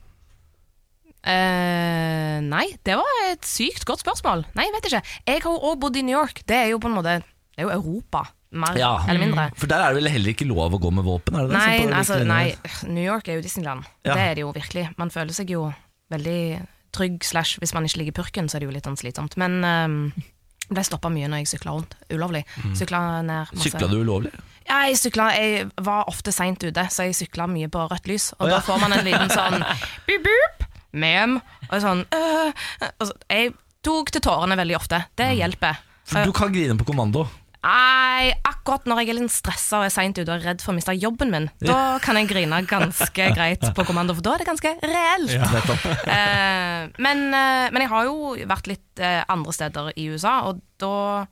Eh, nei, det var et sykt godt spørsmål. Nei, jeg vet ikke. Jeg har jo også bodd i New York. Det er jo på en måte Det er jo Europa, mer
Ja.
eller mindre.
Mm. For der er det vel heller ikke lov å gå med våpen? Er det det?
Nei,
Sånn på
altså,
hvilke
nei,
linjer?
øh, New York er jo Disneyland.
Ja.
Det er det jo virkelig. Man føler seg jo veldig trygg, slash hvis man ikke ligger i purken, så er det jo litt sånn slitsomt. Men ehm, ble stoppa mye når jeg sykla rundt. Ulovlig.
Mm.
Sykla ned masse
Sykla du ulovlig?
Ja, jeg, sykla, jeg var ofte seint ute, så jeg sykla mye på rødt lys. Og
Å, ja.
da får man en liten
<laughs>
sånn boop, boop, mem, og sånn
Mm.
øh, og så, Jeg tok til tårene veldig ofte. Det hjelper.
For du kan grine på kommando.
Nei, akkurat når jeg er litt stressa og er seint ute og er redd for å miste jobben min, da kan jeg grine ganske
<laughs>
greit på kommando, for da er det ganske reelt. <laughs> Eh, men, eh, men jeg har jo vært litt eh, andre steder i USA, og da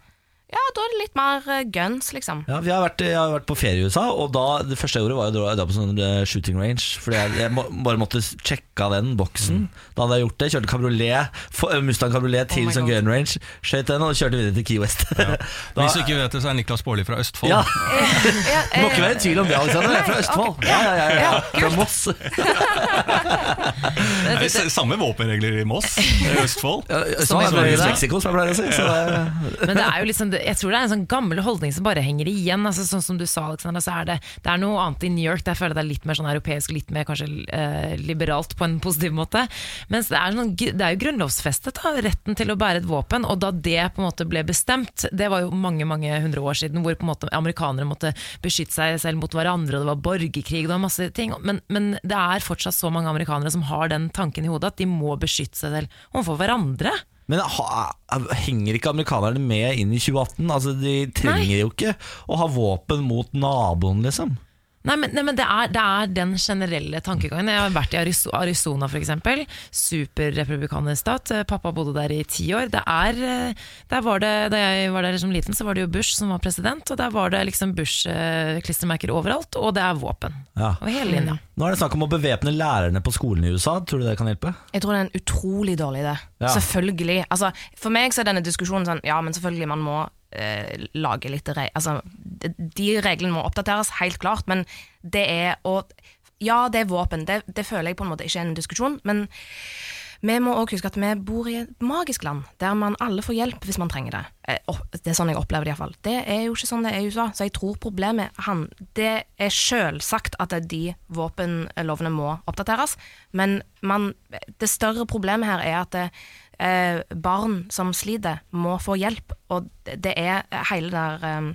ja, da er det litt mer eh, guns, liksom.
Ja, vi har vært, jeg har vært på ferie i USA, og da, det første jeg gjorde var jo da- da på sånn eh, shooting range. Fordi jeg, jeg må, bare måtte sjekke av den boksen. Da hadde jeg gjort det. Kjørte kabriolet, for- eh, Mustang kabriolet til
Oh my
sånn
God.
gun range. Skjøt den og kjørte videre til Key West. <laughs> da,
Hvis du ikke vet det, så er Niklas Baarli fra Østfold.
ja,
Ja, eh,
Må ikke være i tvil om det, Alexander. Jeg er fra
Nei,
Østfold.
Eh, ok.
Ja, ja, ja, ja. Fra Moss.
Det er s- samme våpenregler i Moss i Østfold.
Ja,
Som
Østfold
i
er
Norge, da.
fra Mexico, som jeg pleier å si. Så det er
Men det er jo liksom, jeg tror det er en sånn gammel holdning som bare henger igjen. Altså, sånn som du sa, Alexander, så er det, det er noe annet i New York. Der føler jeg det er litt mer sånn europeisk, litt mer kanskje eh, liberalt på en positiv måte. Mens det er, sånn, gr- det er jo grunnlovsfestet, da, retten til å bære et våpen. Og da det på en måte ble bestemt, det var jo mange mange hundre år siden, hvor på en måte amerikanere måtte beskytte seg selv mot hverandre, og det var borgerkrig og det var masse ting. Men, men det er fortsatt så mange amerikanere som har den tanken i hodet at de må beskytte seg selv overfor hverandre.
Men ha, henger ikke amerikanerne med inn i 2018? Altså, De trenger jo ikke å ha våpen mot naboen, liksom.
Nei, men, nei, men det, er, det er den generelle tankegangen. Jeg har vært i Arizo- Arizona f.eks. Superrepublikanersk stat. Eh, Pappa bodde der i ti år. Det er, eh, der var det, da jeg var der som liten, så var det jo Bush som var president. Og der var det liksom Bush-klistremerker overalt, og det er våpen.
Ja.
Over hele linja.
Nå er det snakk om å bevæpne lærerne på skolen i USA. Tror du det kan hjelpe?
Jeg tror det er en utrolig dårlig idé.
Ja.
Selvfølgelig. Altså, for meg så er denne diskusjonen sånn Ja, men selvfølgelig, man må eh, lage litt re Altså, de, de reglene må oppdateres, helt klart, men det er å Ja, det er våpen. Det, det føler jeg på en måte ikke er en diskusjon, men vi må også huske at vi bor i et magisk land, der man alle får hjelp hvis man trenger det. Eh, opp- Det er sånn jeg opplever det iallfall. Det er jo ikke sånn det er i USA, så jeg tror problemet han, Det er selvsagt at de våpenlovene må oppdateres, men man, det større problemet her er at eh, eh, barn som sliter, må få hjelp, og det det er hele der eh,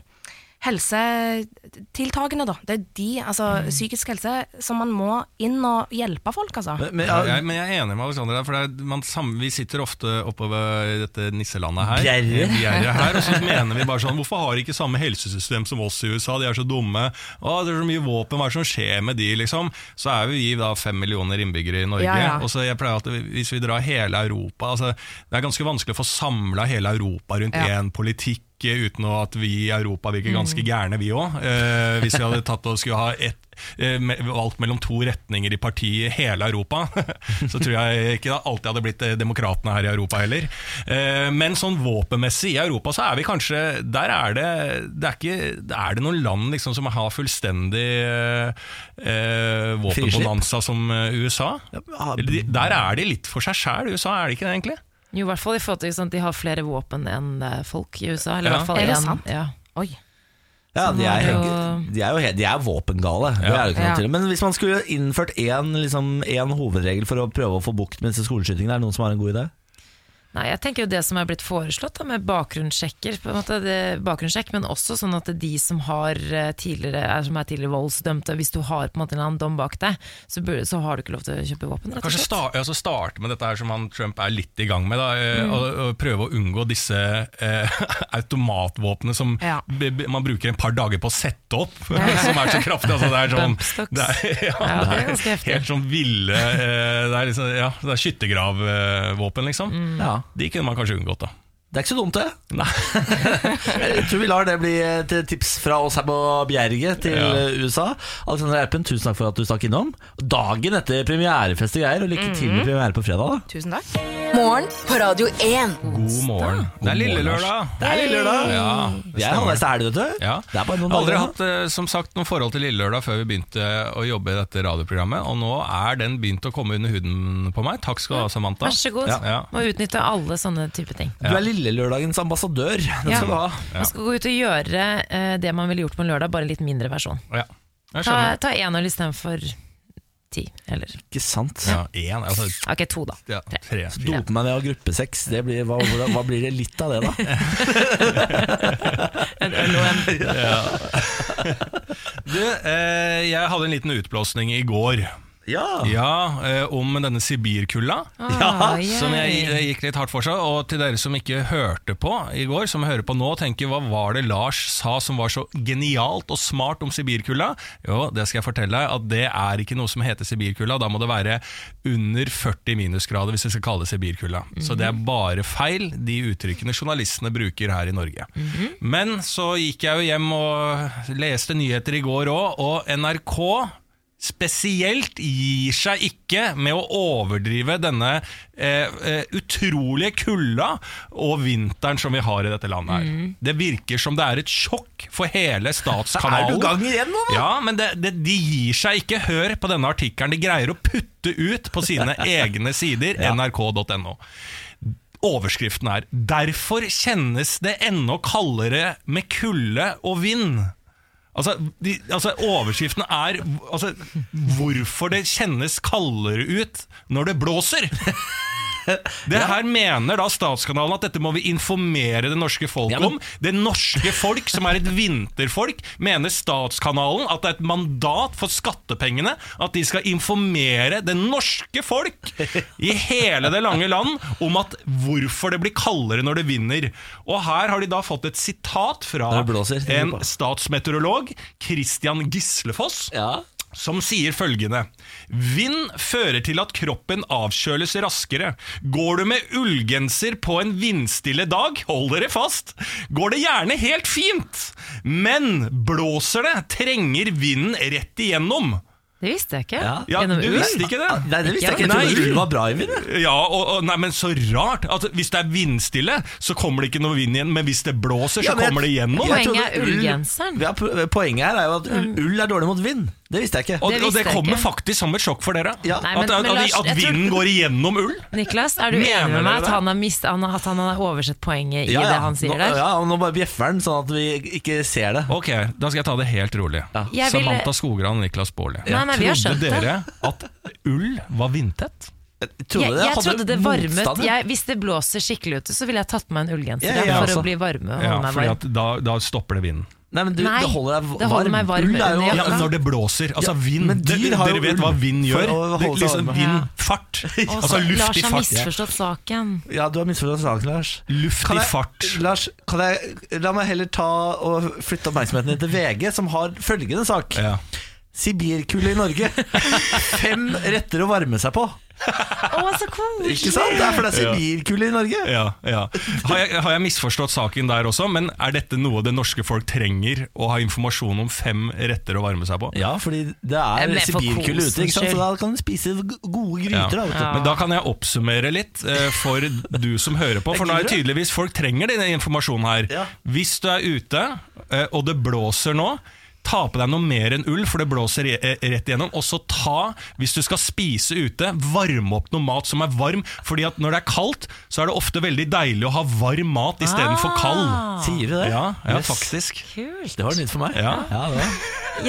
helsetiltakene, da. Det er de, altså psykisk helse, som man må inn og hjelpe folk, altså.
Men, men,
Ja, jeg, men jeg er enig med Alexander der, for det er, man, sam- vi sitter ofte oppe ved dette nisselandet her. Eh,
Bjerre.
Bjerre her, og så mener vi bare sånn, hvorfor har de ikke samme helsesystem som oss i USA, de er så dumme, Å, det er så mye våpen, hva er det som skjer med de liksom? Så er vi da fem millioner innbyggere i Norge,
Ja, ja.
og så jeg pleier at hvis vi drar hele Europa, altså, det er ganske vanskelig å få samlet hele Europa rundt
Ja.
en politikk, eh, Uten å at vi i Europa virker ganske gærne, vi òg. Eh, hvis vi hadde tatt og skulle ha ett eh, me- valgt mellom to retninger i partiet i hele Europa, <laughs> så tror jeg ikke det alltid hadde blitt eh, demokratene her i Europa heller. Eh, Men sånn våpenmessig i Europa, så er vi kanskje Der er det det er, ikke, er det noen land liksom som har fullstendig eh, eh, våpenbonanza som eh, USA?
Ja,
Eller de- Der er de litt for seg sjæl, USA, er de ikke det egentlig?
Jo, i hvert fall i forhold til sånn, at de har flere våpen enn eh, folk i USA. Eller i
Ja.
hvert fall
Er det
en-
sant?
Ja.
Oi.
ja, de, er,
Sånn er
helt- de er jo helt, de er våpengale. Det er det ikke
Ja.
noe til. Men hvis man skulle innført én liksom, en hovedregel for å prøve å få bukt med disse skoleskytingene, er det noen som har en god idé?
Nei, jeg tenker jo det som er blitt foreslått da, med bakgrunnssjekker, på en måte, det, bakgrunnssjekk, men også sånn at de som, har eh, tidligere, er, som er tidligere voldsdømte, hvis du har på en måte en eller annen dom bak deg, så, burde, så har du ikke lov til å kjøpe våpen, rett og
Kanskje
slett.
sta- altså starte med dette her som han Trump er litt i gang med. Da, eh,
Mm.
og, og prøve å unngå disse eh, <laughs> automatvåpnene som
Ja.
b- b- man bruker en par dager på å sette opp, <laughs> som er så kraftige. Altså, det er
Dumpstocks.
sånn, det er, <laughs> ja,
Ja, det er
det er
ganske heftig.
Helt sånn ville eh, Det er, liksom, ja, det er skyttergravvåpen, liksom.
Mm.
Ja.
De kunne man kanskje unngått, da.
Det er ikke så dumt, det.
Nei.
<laughs> Jeg tror vi lar det bli et tips fra oss her på Bjerget til
Ja.
eh, USA. Alexander Erpen, tusen takk for at du stakk innom. Dagen etter premierefest og greier, og lykke til med premiere på fredag. da
Tusen takk.
Morgen på Radio 1.
God morgen.
God
Det er lille
morgen, Lars.
lørdag.
Det er lille lørdag.
Ja,
Jeg
det
er
stemmer.
halvveis til helg, vet du.
Ja.
Det er bare noen
Aldri
dager
hatt eh, som sagt noe forhold til Lille Lørdag før vi begynte å jobbe i dette radioprogrammet, og nå er den begynt å komme under huden på meg. Takk skal du ha, Samantha.
Vær så god,
Ja, ja.
må utnytte alle sånne type ting.
Du er Lillelørdagens ambassadør. Den
Ja.
skal du ha.
Man skal gå ut og gjøre eh, det man ville gjort på en lørdag, bare en litt mindre versjon.
Ja, jeg
Ta,
skjønner.
ta en øl i stedet for ti, eller,
Ikke sant?
Ja, en, altså,
ok, to da.
ja, tre.
Dope meg ned av gruppesex. Det blir, hva, hvordan- hva blir det litt av det, da?
En øl og en...
Du, eh, jeg hadde en liten utblåsning i går.
Ja.
<laughs> Ja, eh, om denne sibirkulda.
Ja,
yay.
Som jeg, det gikk litt hardt for seg. Og til dere som ikke hørte på i går, som hører på nå, tenker hva var det Lars sa som var så genialt og smart om sibirkulda? Jo, det skal jeg fortelle deg, at det er ikke noe som heter sibirkulda. Da må det være under 40 minusgrader hvis vi skal kalle det sibirkulda. Så det er bare feil, de uttrykkene journalistene bruker her i Norge. Men så gikk jeg jo hjem og leste nyheter i går òg, og NRK spesielt gir seg ikke med å overdrive denne eh, eh, utrolige kulda og vinteren som vi har i dette landet her.
Mm.
Det virker som det er et sjokk for
<laughs>
hele
Er du
statskanalen.
i gang igjen nå? da?
Ja, men det, det, de gir seg ikke. Hør på denne artikkelen. De greier å putte ut på
<laughs>
sine egne sider, nrk.no. Overskriften er 'Derfor kjennes det ennå kaldere med kulde og vind'. Altså, de, altså Overskriften er altså, 'Hvorfor det kjennes kaldere ut når det blåser'. Det her mener da Statskanalen at dette må vi informere det norske folk
Ja, men-
om. Det norske folk, som er et vinterfolk, mener Statskanalen at det er et mandat for skattepengene at de skal informere det norske folk i hele det lange land om at hvorfor det blir kaldere når det vinner. Og her har de da fått et sitat fra
Når det blåser, tenker
en
jeg på.
statsmeteorolog, Christian Gislefoss
Ja.
som sier følgende Vind fører til at kroppen avkjøles raskere. Går du med ullgenser på en vindstille dag, hold dere fast, går det gjerne helt fint. Men blåser det, trenger vinden rett igjennom.
Det visste jeg ikke.
Ja.
Ja,
Gjennom
du
ull?
visste ikke det?
Ah, Nei, det visste jeg ikke. Jeg
Nei.
trodde ull var bra i vind. jeg.
Ja, og, og, nei, men så rart at hvis det er vindstille, så kommer det ikke noe vind igjen, men hvis det blåser, så
Ja, men jeg-
kommer det igjennom.
jeg
Poenget er
trodde ull-
ullgenseren. Mm.
Ja, po- poenget her er jo at ull, ull er dårlig mot vind. Det visste jeg ikke.
Og
Det
det, og
visste
det
jeg
kommer
ikke.
faktisk som et sjokk for dere.
Ja.
Nei, men-
at, at,
men Lars,
at
jeg tror-
vinden går igjennom ull.
Niklas, er du
Mener
enig med
dere
meg at
det?
han har, mist, han, har- at han har oversett poenget i det han sier
nå,
der?
Ja, og nå bare bjeffer han sånn at vi ikke ser det.
Ok, da skal jeg ta det helt rolig.
Jeg ville-
Samantha Skogran og Niklas Baarli.
Nei, nei, vi har skjønt
Trodde
det.
dere at ull var vindtett?
Trodde det
jeg, jeg
hadde
trodde det varmet
motstand, ja.
jeg, Hvis det blåser skikkelig ute, så ville jeg tatt på meg en ullgenser
Ja, jeg
ja, for
også.
å bli varme og
Ja,
holde meg
fordi
varm.
at da, da stopper det vinden.
Nei, men du,
Nei,
det holder deg varm.
det holder meg varm
Ull er jo
under
Ja,
jakka.
men Når det blåser, altså
Ja,
vind
men dyr
Dere
har
dere
jo
vet
ull
hva vind
for
gjør.
å holde
Det,
seg
liksom
varme.
vind,
<laughs>
fart.
Og
Altså
så- Lars
luft i
har
fart.
misforstått saken.
Ja, du har misforstått saken, Lars.
Luft
Kan
i
jeg-
fart.
Lars, kan jeg, la meg heller ta og flytte oppmerksomheten din til VG, som har følgende sak.
Ja.
Sibirkulde i
<laughs>
Norge. Fem retter å varme seg på.
Å, så koselig!
Ikke sant? Det er fordi det er
Ja.
sibirkulde i Norge.
Ja, ja. Har, jeg, har jeg misforstått saken der også, men er dette noe det norske folk trenger å ha informasjon om fem retter å varme seg på?
Ja, fordi det
Ja,
er
men for
sibirkulde ute, ikke sant? så
kosens
da kan du spise g- gode gryter. Da, vet du.
Ja.
Men da kan jeg oppsummere litt eh, for du som hører på. For nå er det tydeligvis folk trenger denne informasjonen her.
Ja.
Hvis du er ute, eh, og det blåser nå, ta på deg noe mer enn ull, for det blåser i- eh, rett igjennom. Og så ta, hvis du skal spise ute, varme opp noe mat som er varm. Fordi at når det er kaldt, så er det ofte veldig deilig å ha varm mat istedenfor kald.
Sier du det?
Ja, ja
Yes.
faktisk.
Kult.
Det var nytt for meg.
Ja.
det var.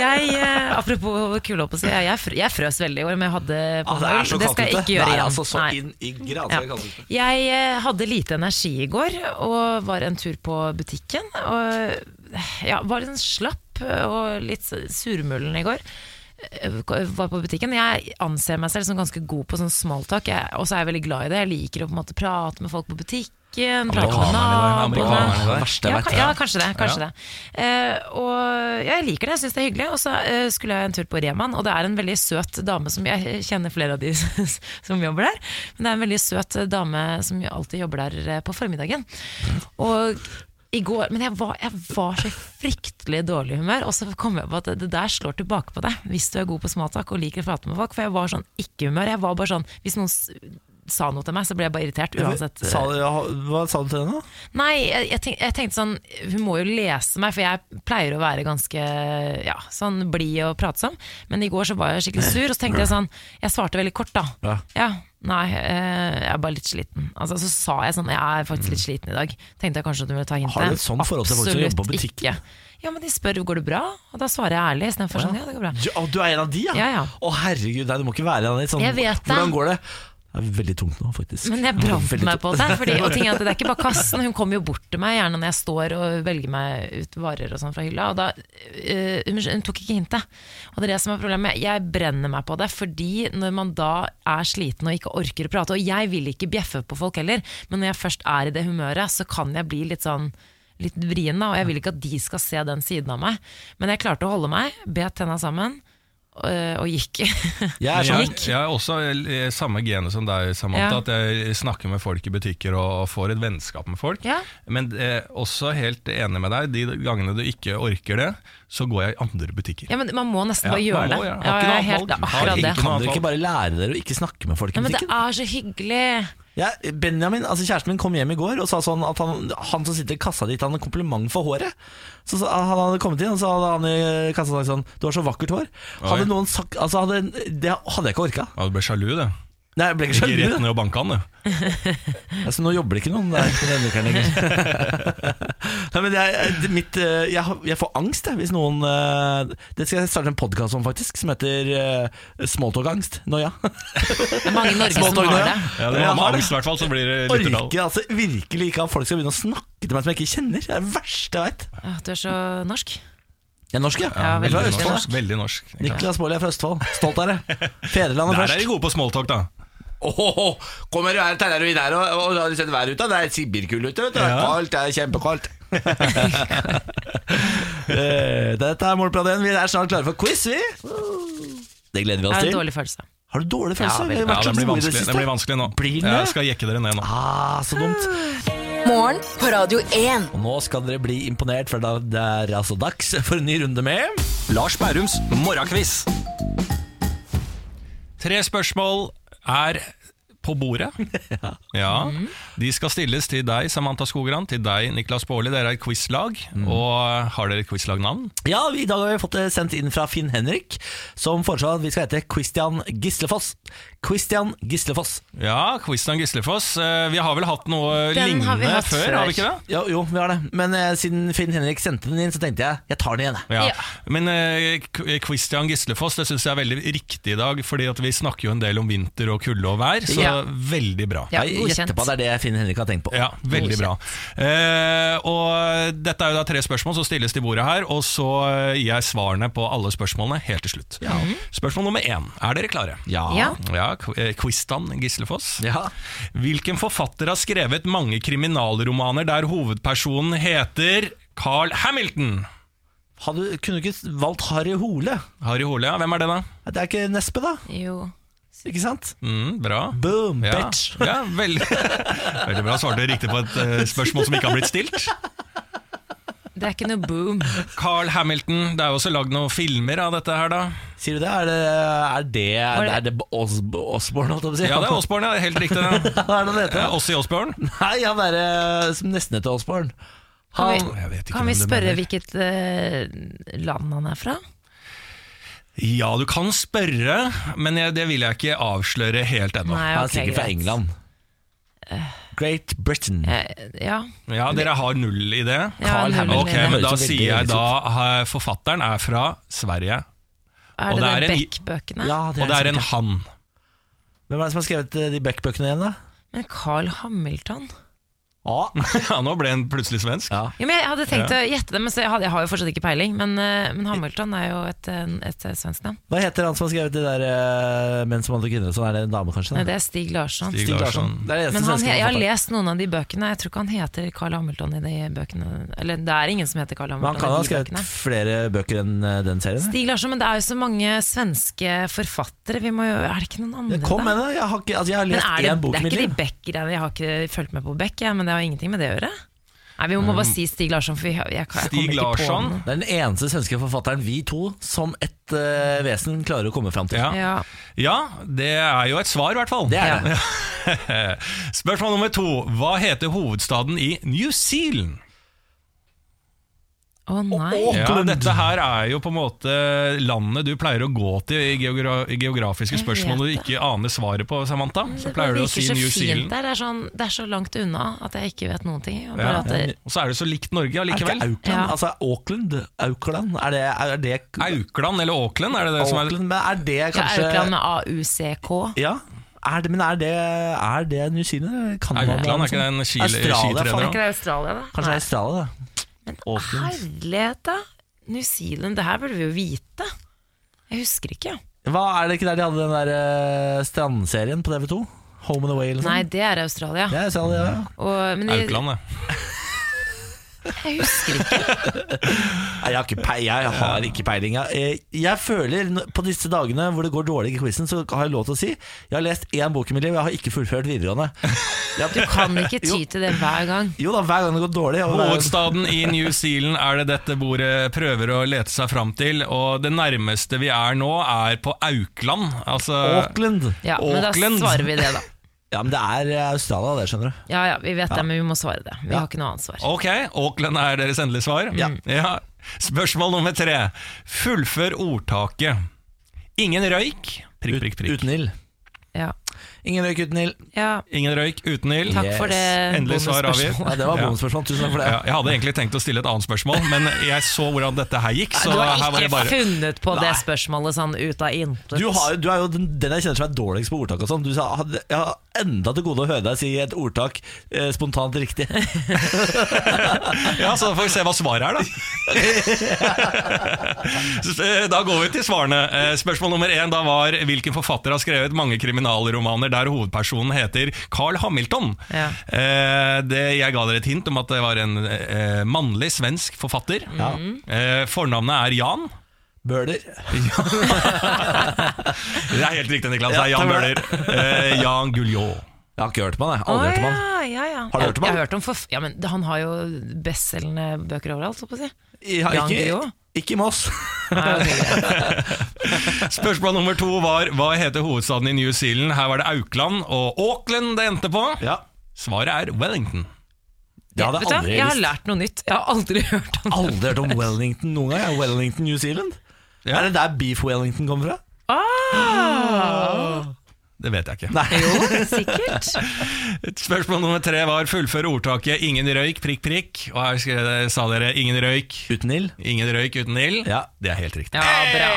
Jeg, eh, apropos kulde, opp, så jeg, jeg, frø- jeg frøs veldig i år, men jeg hadde på
Ah,
meg
det er
ull.
så
Det
kaldt
skal jeg
ute.
ikke gjøre
det er
igjen.
altså så
Nei.
inn i
Ja.
granskere kaldt ute.
Jeg eh, hadde lite energi i går og var en tur på butikken. Og ja, var en slapp og litt surmullen i går. Eh, Var på butikken Jeg anser meg selv som ganske god på sånn smalltalk, jeg- og så er jeg veldig glad i det. Jeg liker å på en måte prate med folk på butikken. Prate med
Amerikanerne i dag,
naboene.
amerikanerne i dag.
Det verste
Ja,
jeg
ka-
vet.
ja, kanskje det. Kanskje det. Eh, og ja, jeg liker det, jeg syns det er hyggelig. Og så eh, skulle jeg en tur på Reman, og det er en veldig søt dame som jeg <laughs> kjenner flere av de som jobber der. Men det er en veldig søt dame som jo alltid jobber der eh, på formiddagen. Og i går, Men jeg var, jeg var så i fryktelig dårlig humør, og så kom jeg på at det, det der slår tilbake på deg hvis du er god på småtak og liker å prate med folk. For jeg var sånn ikke-humør. Jeg var bare sånn Hvis noen s- sa noe til meg, så ble jeg bare irritert uansett.
Sa du, ja, hva sa du til henne? da?
Nei, jeg, jeg, tenk, jeg tenkte sånn Hun må jo lese meg, for jeg pleier å være ganske ja, sånn blid og pratsom. Men i går så var jeg skikkelig sur, og så tenkte jeg sånn Jeg svarte veldig kort, da.
Ja.
nei, eh, jeg er bare litt sliten. Altså, så sa jeg sånn Jeg er faktisk litt sliten i dag. Tenkte jeg kanskje at du ville ta hintet.
Mm. Har du et sånn forhold til folk som jobber på
Absolutt
butikken?
Ikke. Ja, men de spør går det bra, og da svarer jeg ærlig istedenfor sånn ja, det går bra.
Du, å, du er en av de, ja?
Ja, ja.
Å herregud, nei, du må ikke være en av de. Sånn,
Jeg vet det.
Hvordan går det? Det er veldig tungt nå, faktisk.
<laughs> Men jeg brant meg på det. Fordi, og ting er at Det er ikke bare kassen. Hun kommer jo bort til meg gjerne når jeg står og velger meg ut varer og sånn fra hylla. Og da, øh, hun, hun tok ikke hintet. Og det er det som er problemet. Jeg brenner meg på det. Fordi når man da er sliten og ikke orker å prate Og jeg vil ikke bjeffe på folk heller, men når jeg først er i det humøret, så kan jeg bli litt sånn Litt vrien, da. Og jeg vil ikke at de skal se den siden av meg. Men jeg klarte å holde meg, bet tenna sammen, øh, og gikk. <laughs>
Jeg er
Men
sånn
jeg, jeg er også eh, samme gene som deg, Samantha.
Ja.
At jeg snakker med folk i butikker og og får et vennskap med folk.
Ja.
Men eh, også helt enig med deg, de gangene du ikke orker det, så går jeg i andre butikker.
Ja, men Man må nesten
Ja,
bare gjøre
man må
det.
gjøre det.
Ja,
Har ikke
jeg
noe
er helt, det
valg.
er
Har
akkurat
ikke
det.
noe
Kan dere ikke bare lære dere å ikke snakke med folk i
Ja, men det
butikken?
er så hyggelig.
Ja, Benjamin, altså kjæresten min, kom hjem i går og sa sånn at han, han som sitter i kassa ditt, han hadde kompliment for håret. Så, sa- Han hadde kommet inn, og så hadde han i kassa sagt sånn Du har så vakkert hår. Hadde
Oi.
noen sagt altså hadde, Det hadde jeg ikke orka.
Ja, du ble sjalu, du.
Nei, jeg ble ikke
Gikk
sjalu.
rett ned og banka han, du.
Altså, nå jobber det ikke noen der på denne ukeren lenger.
<laughs>
Nei, men jeg, det- mitt, eh, jeg, har- jeg får angst jeg, hvis noen eh, Det skal jeg starte en podkast om, faktisk, som heter eh, Smalltalk-angst. Nå, ja.
Det er mange i Norge som
Smalltalk,
har
nå,
det.
Ja, det
Jeg
var
har
med angst, i hvert fall, så blir det lytterdal.
Orker altså virkelig ikke at folk skal begynne å snakke til meg som jeg ikke kjenner. Det er det verste jeg veit.
Åh, Du er så norsk.
Jeg er norsk, ja.
Ja,
Jeg er fra
Veldig
Østfold,
norsk. Veldig norsk.
ja. Niklas Baarli er fra Østfold. Stolt er det. Fedrelandet
Der er de
først.
gode på smalltalk, da.
Åhåhå, kommer du her, tegner du inn her, og, og, har du sett været ute? Det er sibirkulde ute, vet du. Det er kaldt, det er kjempekaldt. <laughs> Eh, Dette er Morgenprat 1. Vi er snart klare for quiz, vi. Det gleder vi
Det
oss
er en
til.
dårlig følelse.
Har du dårlig følelse?
Ja,
Vi har
Ja,
vært så
det
gode i
blir
det
vanskelig,
siste.
det blir vanskelig nå.
Blir det?
Jeg skal jekke dere ned nå.
Ah, så dumt.
Morgen på Radio 1.
Og nå skal dere bli imponert, for da det er altså dags for en ny runde med
Lars Bærums morgenkviss. Tre spørsmål er på
<laughs>
bordet. Ja.
Mm.
De skal stilles til deg, Samantha Skogran, til deg, Niklas Baarli. Dere er et quizlag.
Mm.
Og eh, har dere et quizlagnavn?
Ja, i dag har vi fått det sendt inn fra Finn Henrik, som foreslår at vi skal hete Christian Gislefoss. Christian Gislefoss.
Ja, Quizland Gislefoss. Eh, Vi har vel hatt noe
Den
lignende
har vi hatt
før,
før.
har vi ikke det?
Jo, jo, vi har det. Men eh, siden Finn Henrik sendte den inn, så tenkte jeg jeg tar den igjen. jeg.
Ja.
Ja.
Men eh, K- Christian Gislefoss det syns jeg er veldig riktig i dag, fordi at vi snakker jo en del om vinter og kulde og vær, så
Ja.
veldig bra.
Ja,
jeg
godkjent.
gjetter på at det er det Finn Henrik har tenkt på.
Ja, veldig bra. Eh, og dette er jo da tre spørsmål som stilles til bordet her, og så eh, gir jeg svarene på alle spørsmålene helt til slutt. Spørsmål nummer én. Er dere klare?
Ja.
Ja, qu- eh, Quistan Gislefoss.
Ja.
Hvilken forfatter har skrevet mange kriminalromaner der hovedpersonen heter Carl Hamilton?
Hadde, kunne du ikke valgt Harry Hole?
Harry Hole, ja. Hvem er det, da?
Det er ikke Nesbø, da?
Jo.
Ikke sant?
Mm, bra.
Boom,
Ja,
bitch!
ja veldig, <laughs> veldig bra. Svarte dere riktig på et eh, spørsmål som ikke har blitt stilt.
Det er ikke noe boom.
Carl Hamilton. Det er jo også lagd noen filmer av dette her, da.
Sier du det? Er det, er det,
det-
er det Osb Osborne, holdt jeg på å si?
Ja, det er Osborne, ja. Helt riktig. det.
<laughs> Hva er det han heter?
Ja, Ossi Osborne.
Nei, han derre som nesten heter Osborne.
Kan
Han-
vi,
Jeg vet ikke
kan vi
hvem du
spørre
mener.
hvilket eh, land han er fra?
Ja, du kan spørre, men jeg, det vil jeg ikke avsløre helt ennå.
Nei,
Han er
ok,
sikkert fra
greit.
England. Great Britain.
Eh, ja.
Ja, Dere har null i det?
Carl
null
Hamilton.
Ok,
mener
Høres
men da
jeg.
jo veldig liksom-
sier jeg
høres
da eh, forfatteren er fra Sverige,
Er
og
det,
det er
de
en-
Beck-bøkene?
Ja,
og det er en
sikkert.
han. <laughs>
Hvem er det som har skrevet eh, de Beck-bøkene igjen, da?
Men Carl Hamilton?
Ah.
Ja, nå ble han plutselig svensk.
Ja.
Jo, men jeg hadde tenkt å gjette det, men så jeg, hadde, jeg har jo fortsatt ikke peiling. Men, eh, men Hamilton er jo et, eh, et, eh, svensk navn.
Hva heter han som har skrevet de der eh, Menn som handler kvinner? Sånn er det en dame, kanskje?
Nei,
Da?
det er Stig Larsson.
Stig
Stig Larsson.
Larsson.
Det er det eneste
Men han,
svenske
jeg har
forfatteren.
lest noen av de bøkene. Jeg tror ikke han heter Carl Hamilton i de bøkene. Eller det er ingen som heter Carl
Men han
Hamilton
kan ha
i de
skrevet
bøkene.
flere bøker enn eh, den serien.
Stig Larsson, men det er jo så mange svenske forfattere. Vi må jo, er det ikke noen andre
Jeg kom
da?
med det! Jeg har, ikke, altså, jeg har
Men
lest
er det,
én bok i
det er
mitt
ikke de
liv.
Beck-greiene. Jeg har ikke fulgt med på Beck, jeg, men det har ingenting med det å gjøre. Nei, Vi må
Mm.
bare si Stig Larsson, for vi- jeg, jeg, jeg
Stig
kommer ikke på
Larsson.
noe.
Det er den eneste svenske forfatteren vi to som et eh, vesen klarer å komme fram til.
Ja.
Ja.
ja, det er jo et svar, i hvert fall.
Det er det.
<laughs> Spørsmål nummer to. Hva heter hovedstaden i New Zealand?
Å nei.
Ja, dette her er jo på en måte landet du pleier å gå til i geogra i geografiske
Jeg vet
spørsmål du
det.
ikke aner svaret på, Samantha. Så pleier du
det
å si
virker så
New
fint
Zealand.
der. Det er, sånn, det er så langt unna at jeg ikke vet noen ting. og Bare
Ja.
at det,
Og så er det så likt Norge
Er det ikke
allikevel.
Auckland?
Ja.
Altså Auckland? Auckland? Er det, er det,
Aukland eller Auckland, er det det som er
Auckland? Men er det
ja,
kanskje
Aukland med AUCK.
Ja, er det, men er det, er det New Zealand? Canada,
Outland er ikke det en
sånt?
kile-
Australia, faen,
skitrener, da?
ikke det.
Ikke det Australia, da?
Kanskje det er Australia, da. Auckland.
Herlighet, da! New Zealand, det her burde vi jo vite. Jeg husker ikke.
Hva Er det ikke der de hadde den der eh, strandserien på TV2? Home and Away eller noe
Nei,
sånt?
det er Australia.
Det er Australia, ja.
Og, men jeg,
Aukland, det.
jeg husker ikke.
Nei, Jeg har ikke, pei, jeg har ikke peiling. Jeg, eh, jeg føler n- på disse dagene hvor det går dårlig i quizen, så har jeg lov til å si jeg har lest én bok i mitt liv, jeg har ikke fullført videregående.
Du kan
<laughs>
ikke ty til det hver gang.
Jo da, hver gang det går dårlig. Og det er,
Hovedstaden i New Zealand er det dette bordet prøver å lete seg fram til, og det nærmeste vi er nå, er på Aukland. Altså
Auckland.
Ja, men da
Auckland.
svarer vi det, da.
Ja, men det er eh, Australia, det, skjønner du.
Ja ja, vi vet det, men vi må svare det. Vi har ikke noe annet svar.
Ok, Auckland er deres endelige svar. Mm.
Ja.
Spørsmål nummer tre. Fullfør ordtaket. Ingen røyk Prikk, prikk, prikk.
Uten ild.
Ja.
Ingen røyk uten ild.
ja
Ingen røyk uten ild.
takk
Yes.
for det
Endelig svar avgitt.
bonusspørsmålet.
Ja, det var
Ja.
bonusspørsmål. Tusen takk for det.
Ja, jeg hadde egentlig tenkt å stille et annet spørsmål, men jeg så hvordan dette her gikk. Så
Du
her
har
var
ikke
det bare
funnet på det spørsmålet sånn ut av intet.
Du, har, jo- du er jo den, den jeg kjenner som er dårligst på ordtak og sånn. Du sa "Hadde- jeg har enda til gode å høre deg si et ordtak eh, spontant riktig.
Ja, så får vi se hva svaret er, da. Så, eh, da går vi til svarene. Eh, Spørsmål nummer én da var hvilken forfatter har skrevet mange kriminalromaner der hovedpersonen heter Carl Hamilton.
Ja.
Eh, Det, jeg ga dere et hint om at det var en eh, mannlig svensk forfatter. Eh, Fornavnet er Jan.
<laughs> Bøler.
Det er helt riktig, Niklas. Det er Jan
Ja,
Bøhler.
det
Eh, Jan Guljå.
Jeg har ikke hørt om han, jeg.
Å,
Aldri hørt om han.
ja, ja, ja.
Har du hørt om han?
Jeg har hørt om forf ja, men Han har jo bestselgende bøker overalt, så på å si.
Jeg har
Jan
ikke,
Guillou?
ikke i Moss.
Nei, ok.
Spørsmål nummer to var hva heter hovedstaden i New Zealand? Her var det Aukland og Auckland det endte på.
Ja.
Svaret er Wellington.
Det hadde jeg
Vet du hva?
aldri
Jeg har
visst.
lært noe nytt. Jeg har aldri <laughs> hørt om det.
Aldri hørt om Wellington noen gang. jeg. Wellington, New Zealand.
Ja.
Er det der Beef Wellington kommer fra?
Ah!
Ah!
Det vet jeg ikke.
Jo, sikkert.
Spørsmål nummer tre var fullføre ordtaket 'ingen røyk, prikk, prikk'. Og her skrev, sa dere 'ingen røyk,
<laughs> Uten ild?
ingen røyk uten ild'.
Ja.
Det er helt riktig.
Ja, bra.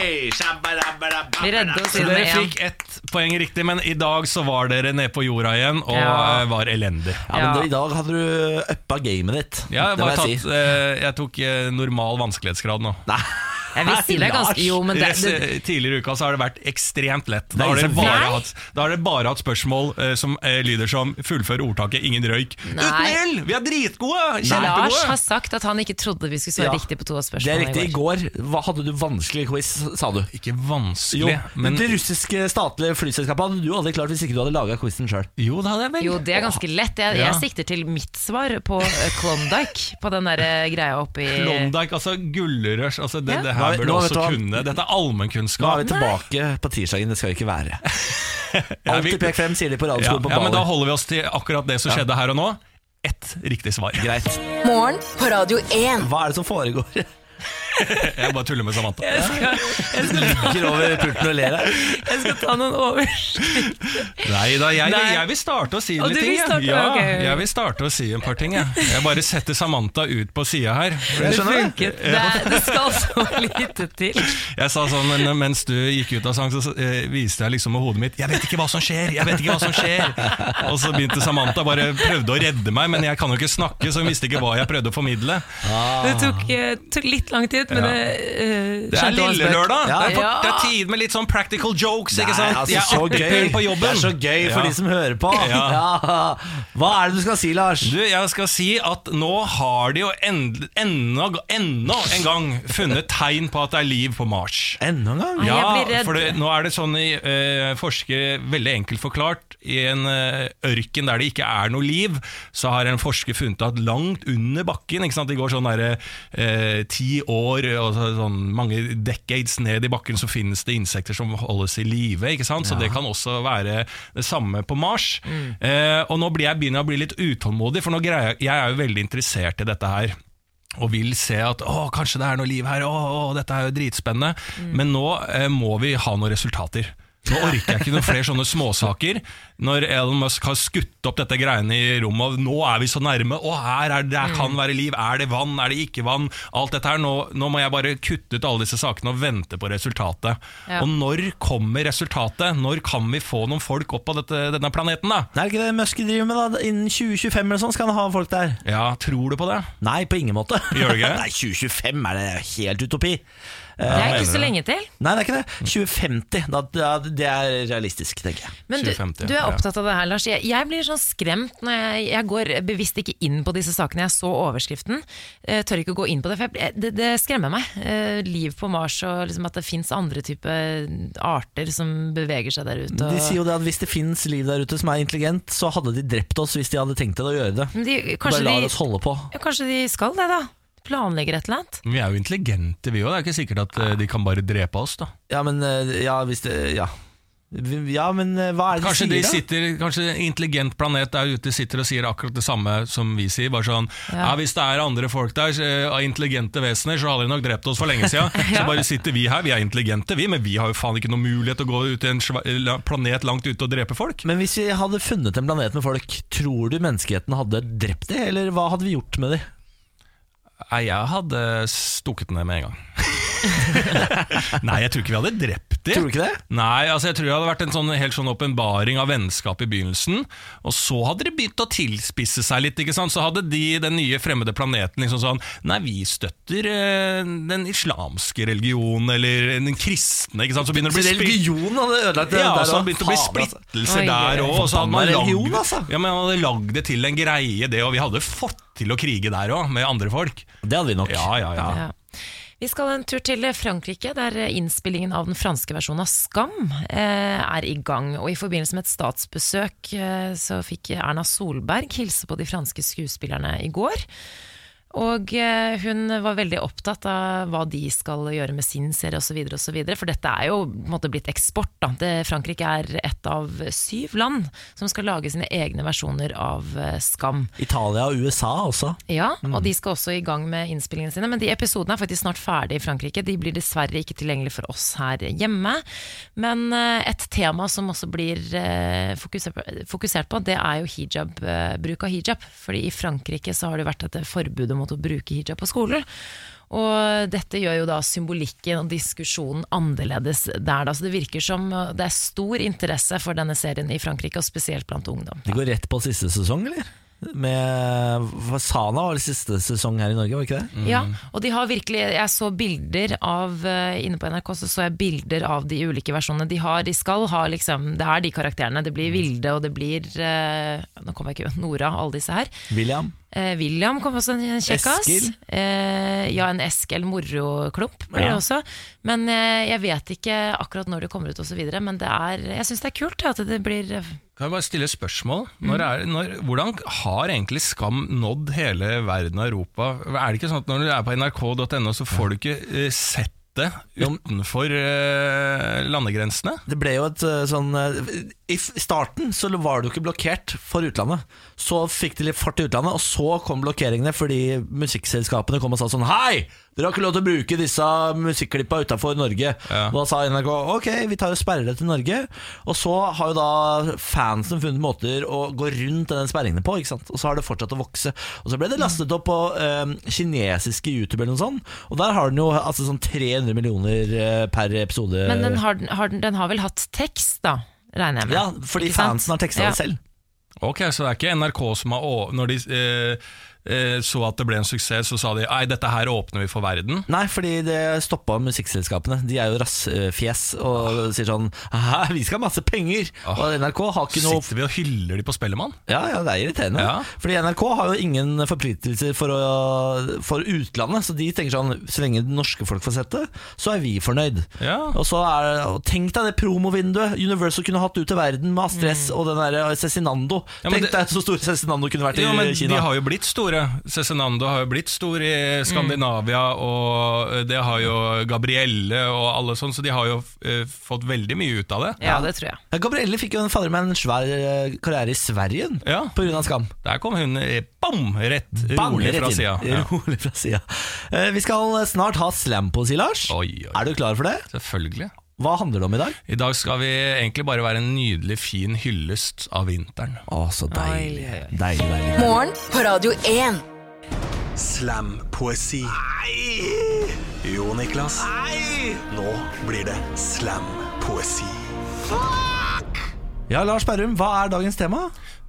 Vi redder oss
Så
inn
dere
med én.
fikk ett poeng riktig, men i dag så var dere nede på jorda igjen og
Ja.
eh, var elendig.
Ja, men
Ja.
da- I dag hadde du uppa gamet ditt.
Ja, jeg,
det må
bare
jeg
tatt,
si.
eh, jeg tok eh, normal vanskelighetsgrad nå.
Jeg vil si det er ganske Jo, men det,
Rest-
det,
eh, Tidligere i uka så har det vært ekstremt lett. Da
Nei,
har dere
så-
bare
Nei.
hatt, da har dere bare hatt spørsmål eh, som eh, lyder som 'fullfør ordtaket, ingen røyk'. Uten
Nei.
ild! Vi er dritgode!
Lars har
Kjempegode!
sagt at han ikke trodde vi skulle
Ja.
svare riktig på to av
Det er
spørsmålene
riktig. I går hva, hadde du vanskelig quiz, sa du.
Ikke
Jo,
vanskelig,
men
men
Det russiske statlige flyselskapet hadde du aldri klart hvis ikke du hadde laga quizen sjøl.
Jo, det hadde jeg vel.
Jo, det er ganske lett. Jeg,
Ja.
jeg sikter til mitt svar på eh, Klondyke, på den der eh, greia oppi
Klondyke, altså gullrush. Altså det,
Ja.
det
Nå
her
er-
bør du
nå vet du
også
hva.
kunne. Dette er
Nå er vi
allmennkunnskap.
tilbake på tirsdagen, det skal vi ikke
<laughs>
være.
Ja, vi-
Alltid pek frem, sier de på
Ja,
radioskolen på
ja, men da
Bali.
holder vi oss til akkurat det som skjedde her og nå. Ett riktig svar.
Greit.
Morgen på Radio 1.
Hva er det som
<laughs>
foregår?
Jeg bare tuller med Samantha.
<laughs> Ligger over pulten og ler her.
Jeg skal ta noen over.
Nei da, jeg,
Nei.
jeg vil starte å si
Å,
litt
du
ting.
vil
jeg.
starte,
ja,
ok.
Jeg vil starte å si en par ting. Jeg, jeg bare setter Samantha ut på sida her.
Det funket. Det, er- det skal så lite til.
Jeg sa sånn, men Mens du gikk ut av sang, så eh, viste jeg liksom med hodet mitt 'Jeg vet ikke hva som skjer!' jeg vet ikke hva som skjer Og så begynte Samantha bare prøvde å redde meg, men jeg kan jo ikke snakke, så hun visste ikke hva jeg prøvde å formidle.
Det tok, eh, tok litt lang tid, men det eh,
Det er
skjedde
lille lørdag!
Ja.
Det, er for, det er tid med litt sånn practical jokes, ikke sant?
Nei, altså,
jeg
så
er
gøy.
artig på jobben.
Det er så gøy for
Ja.
de som hører på. <laughs> Ja. Hva er det du skal si, Lars?
Du, jeg skal si at nå har de jo endel- enda, enda en gang funnet tegn på at det er liv på Mars.
Enda en gang?
Nei, jeg blir redd.
for det, nå er det sånn i eh, forsker, veldig enkelt forklart, i en eh, ørken der det ikke er noe liv, så har en forsker funnet at langt under bakken, ikke sant, de går sånn der eh, ti år, og så, sånn mange decades ned i bakken, så finnes det insekter som holdes i live, ikke sant, så det kan også være det samme på Mars.
Mm.
Eh, og nå blir jeg begynner jeg å bli litt utålmodig, for nå greier, jeg- jeg er jo veldig interessert i dette her og vil se at å,
Mm.
kanskje det er noe liv her, å, å, dette er jo dritspennende. Men nå eh, må vi ha noen resultater. Nå orker jeg ikke noen flere sånne småsaker. Når Elon Musk har skutt opp dette greiene i rommet, og nå er vi så nærme, og her er det, der kan
Mm.
være liv, er det vann, er det ikke vann, alt dette her, nå, nå må jeg bare kutte ut alle disse sakene og vente på resultatet.
Ja.
Og når kommer resultatet? Når kan vi få noen folk opp på dette, denne planeten da?
Det er ikke det Musk driver med, da. Innen 2025 eller sånn skal han ha folk der.
Ja, tror du på det?
Nei, på ingen måte.
Gjør det ikke?
<laughs> Nei, 2025 er det helt utopi.
Det er
mener
ikke så
det.
lenge til.
Nei, det er ikke det. 2050, da, da, det er realistisk, tenker jeg.
Men du,
2050,
du er
ja.
opptatt av det her, Lars. Jeg, jeg blir sånn skremt når jeg, jeg går bevisst ikke inn på disse sakene. Jeg så overskriften, eh, tør ikke å gå inn på det, for jeg, blir- det, det skremmer meg. Eh, liv på Mars og liksom at det fins andre typer arter som beveger seg der ute.
De
og-
sier jo det at hvis det fins liv der ute som er intelligent, så hadde de drept oss hvis de hadde tenkt å gjøre det.
Men de,
Bare
kanskje,
lar
de,
oss holde på.
ja, kanskje de skal det, da? Planlegger et eller annet?
Vi er jo intelligente vi også, det er ikke sikkert at eh, de kan bare drepe oss da.
Ja, men eh, Ja, hvis det Ja. Ja, men eh, hva er det
Kanskje de
sier, da?
sitter, kanskje en intelligent planet der ute sitter og sier akkurat det samme som vi sier. Bare sånn, ja.
Ja.
Hvis det er andre folk der, eh, av intelligente vesener, så hadde de nok drept oss for lenge siden. Så bare sitter vi her, vi er intelligente vi, men vi har jo faen ikke noen mulighet til å gå ut til en sva- la- planet langt ute og drepe folk.
Men hvis vi hadde funnet en planet med folk, tror du menneskeheten hadde drept dem, eller hva hadde vi gjort med dem?
Nei, jeg hadde stukket ned med en gang. <laughs> Nei, jeg tror ikke vi hadde drept dem.
Tror du ikke det?
Nei, altså jeg tror det hadde vært en sånn, helt sånn åpenbaring av vennskap i begynnelsen. Og så hadde det begynt å tilspisse seg litt. ikke sant? Så hadde de den nye fremmede planeten liksom sånn Nei, vi støtter eh, den islamske religionen eller den kristne. ikke sant? Så begynner det å bli splitt-
Religion hadde ødelagt
ja,
der,
så
og
hadde det begynt å bli
faen, altså.
splittelser
Oi,
der
oi, oi.
òg. Og så hadde man
Forbanna
lagd,
religion, altså.
ja, men man hadde lagd det til en greie, det, og vi hadde fått til å krige der òg, med andre folk.
Det hadde vi nok.
Ja, ja, ja.
Ja. Vi skal en tur til Frankrike, der innspillingen av den franske versjonen av Skam eh, er i gang. Og I forbindelse med et statsbesøk eh, så fikk Erna Solberg hilse på de franske skuespillerne i går. Og eh, hun var veldig opptatt av hva de skal gjøre med sin serie osv. For dette er jo på en måte blitt eksport. Da. Det, Frankrike er ett av syv land som skal lage sine egne versjoner av eh, Skam.
Italia og USA også.
Ja, og de skal også i gang med innspillingene sine. Men de episodene er faktisk snart ferdig i Frankrike. De blir dessverre ikke tilgjengelig for oss her hjemme. Men eh, et tema som også blir eh, fokusert på- fokusert på, det er jo hijab, eh, bruk av hijab. Fordi i Frankrike så har det vært dette forbudet mot å bruke hijab på skolen. Og dette gjør jo da symbolikken og diskusjonen annerledes der, da. Så det virker som eh, det er stor interesse for denne serien i Frankrike, og spesielt blant ungdom.
De går rett på siste sesong, eller? Med for Sana var det siste sesong her i Norge, var det ikke det?
Ja, og de har virkelig Jeg så bilder av eh, Inne på NRK så så jeg bilder av de ulike versjonene de har. De skal ha liksom Det er de karakterene. Det
Mhm.
blir Vilde, og det blir eh, Nå kommer jeg ikke Nora, alle disse her.
William.
Eh, William kom også, en kjekkas.
Eskil.
Eh, ja, en Eskil Moroklump ble det
Ja.
også. Men eh, jeg vet ikke akkurat når det kommer ut osv. Men det er, jeg syns det er kult ja, at det blir eh,
Kan jeg bare stille et spørsmål?
Mm.
Når er, når, hvordan har egentlig Skam nådd hele verden og Europa? Er det ikke sånn at når du er på nrk.no, så får du ikke eh, sett det utenfor eh, landegrensene?
Det ble jo et eh, sånn eh, I f- starten så var det jo ikke blokkert for utlandet. Så fikk de litt fart i utlandet, og så kom blokkeringene fordi musikkselskapene kom og sa sånn Hei! Dere har ikke lov til å bruke disse musikklippa utafor Norge.
Ja.
Og da sa NRK ok, vi tar og sperrer det til Norge. Og så har jo da fansen funnet måter å gå rundt den sperringen på, ikke sant. Og så har det fortsatt å vokse. Og så ble det lastet opp på eh, kinesiske YouTube eller noe sånt, og der har den jo altså sånn 300 millioner eh, per episode.
Men den har, den- har, den- den har vel hatt tekst, da? Regner jeg
Eh.
med.
Ja, fordi
Ikke sant?
fansen har teksta
Ja.
det selv.
Ok, så det er ikke NRK som har å- Når de eh, eh, så at det ble en suksess, så sa de Nei, dette her åpner vi for verden.
Nei, fordi det stoppa musikkselskapene. De er jo rassfjes og sier sånn Haha, vi skal ha masse penger!
Ah.
Og NRK har ikke noe
Sitter vi og hyller de på Spellemann?
Ja, ja, det er irriterende.
Ja.
Fordi NRK har jo ingen forpliktelser for, å, for utlandet, så de tenker sånn Så lenge det norske folk får sett det, så er vi fornøyd.
Ja.
Og så er det og Tenk deg det promovinduet Universal kunne hatt ut til verden med Astrid S og den der eh, Cezinando.
Mm. Ja, men
tenk
det-
deg så stor Cezinando kunne vært i
Ja, men
Kina.
De har jo blitt store. Cezinando har jo blitt stor i Skandinavia, og det har jo Gabrielle og alle sånn, så de har jo eh, fått veldig mye ut av det.
Ja, det tror jeg.
Ja, Gabrielle fikk jo en fader meg en svær eh, karriere i Sverige
Ja.
på grunn av Skam.
Der kom hun eh, bam, rett
Bang,
rolig
rett
fra
inn.
sida. Ja.
<laughs> Rolig fra sida. Eh, Vi skal snart ha slam på si, Lars.
Oi, oi.
Er du klar for det?
Selvfølgelig.
Hva handler det om i dag?
I dag skal vi egentlig bare være en nydelig, fin hyllest av vinteren.
Å, så deilig.
Oi, oi, oi.
Deilig, deilig.
Morgen på Radio 1.
Slampoesi. Nei! Jo, Niklas. Nei! Nå blir det slampoesi.
Ja, Lars Berrum, hva er dagens tema?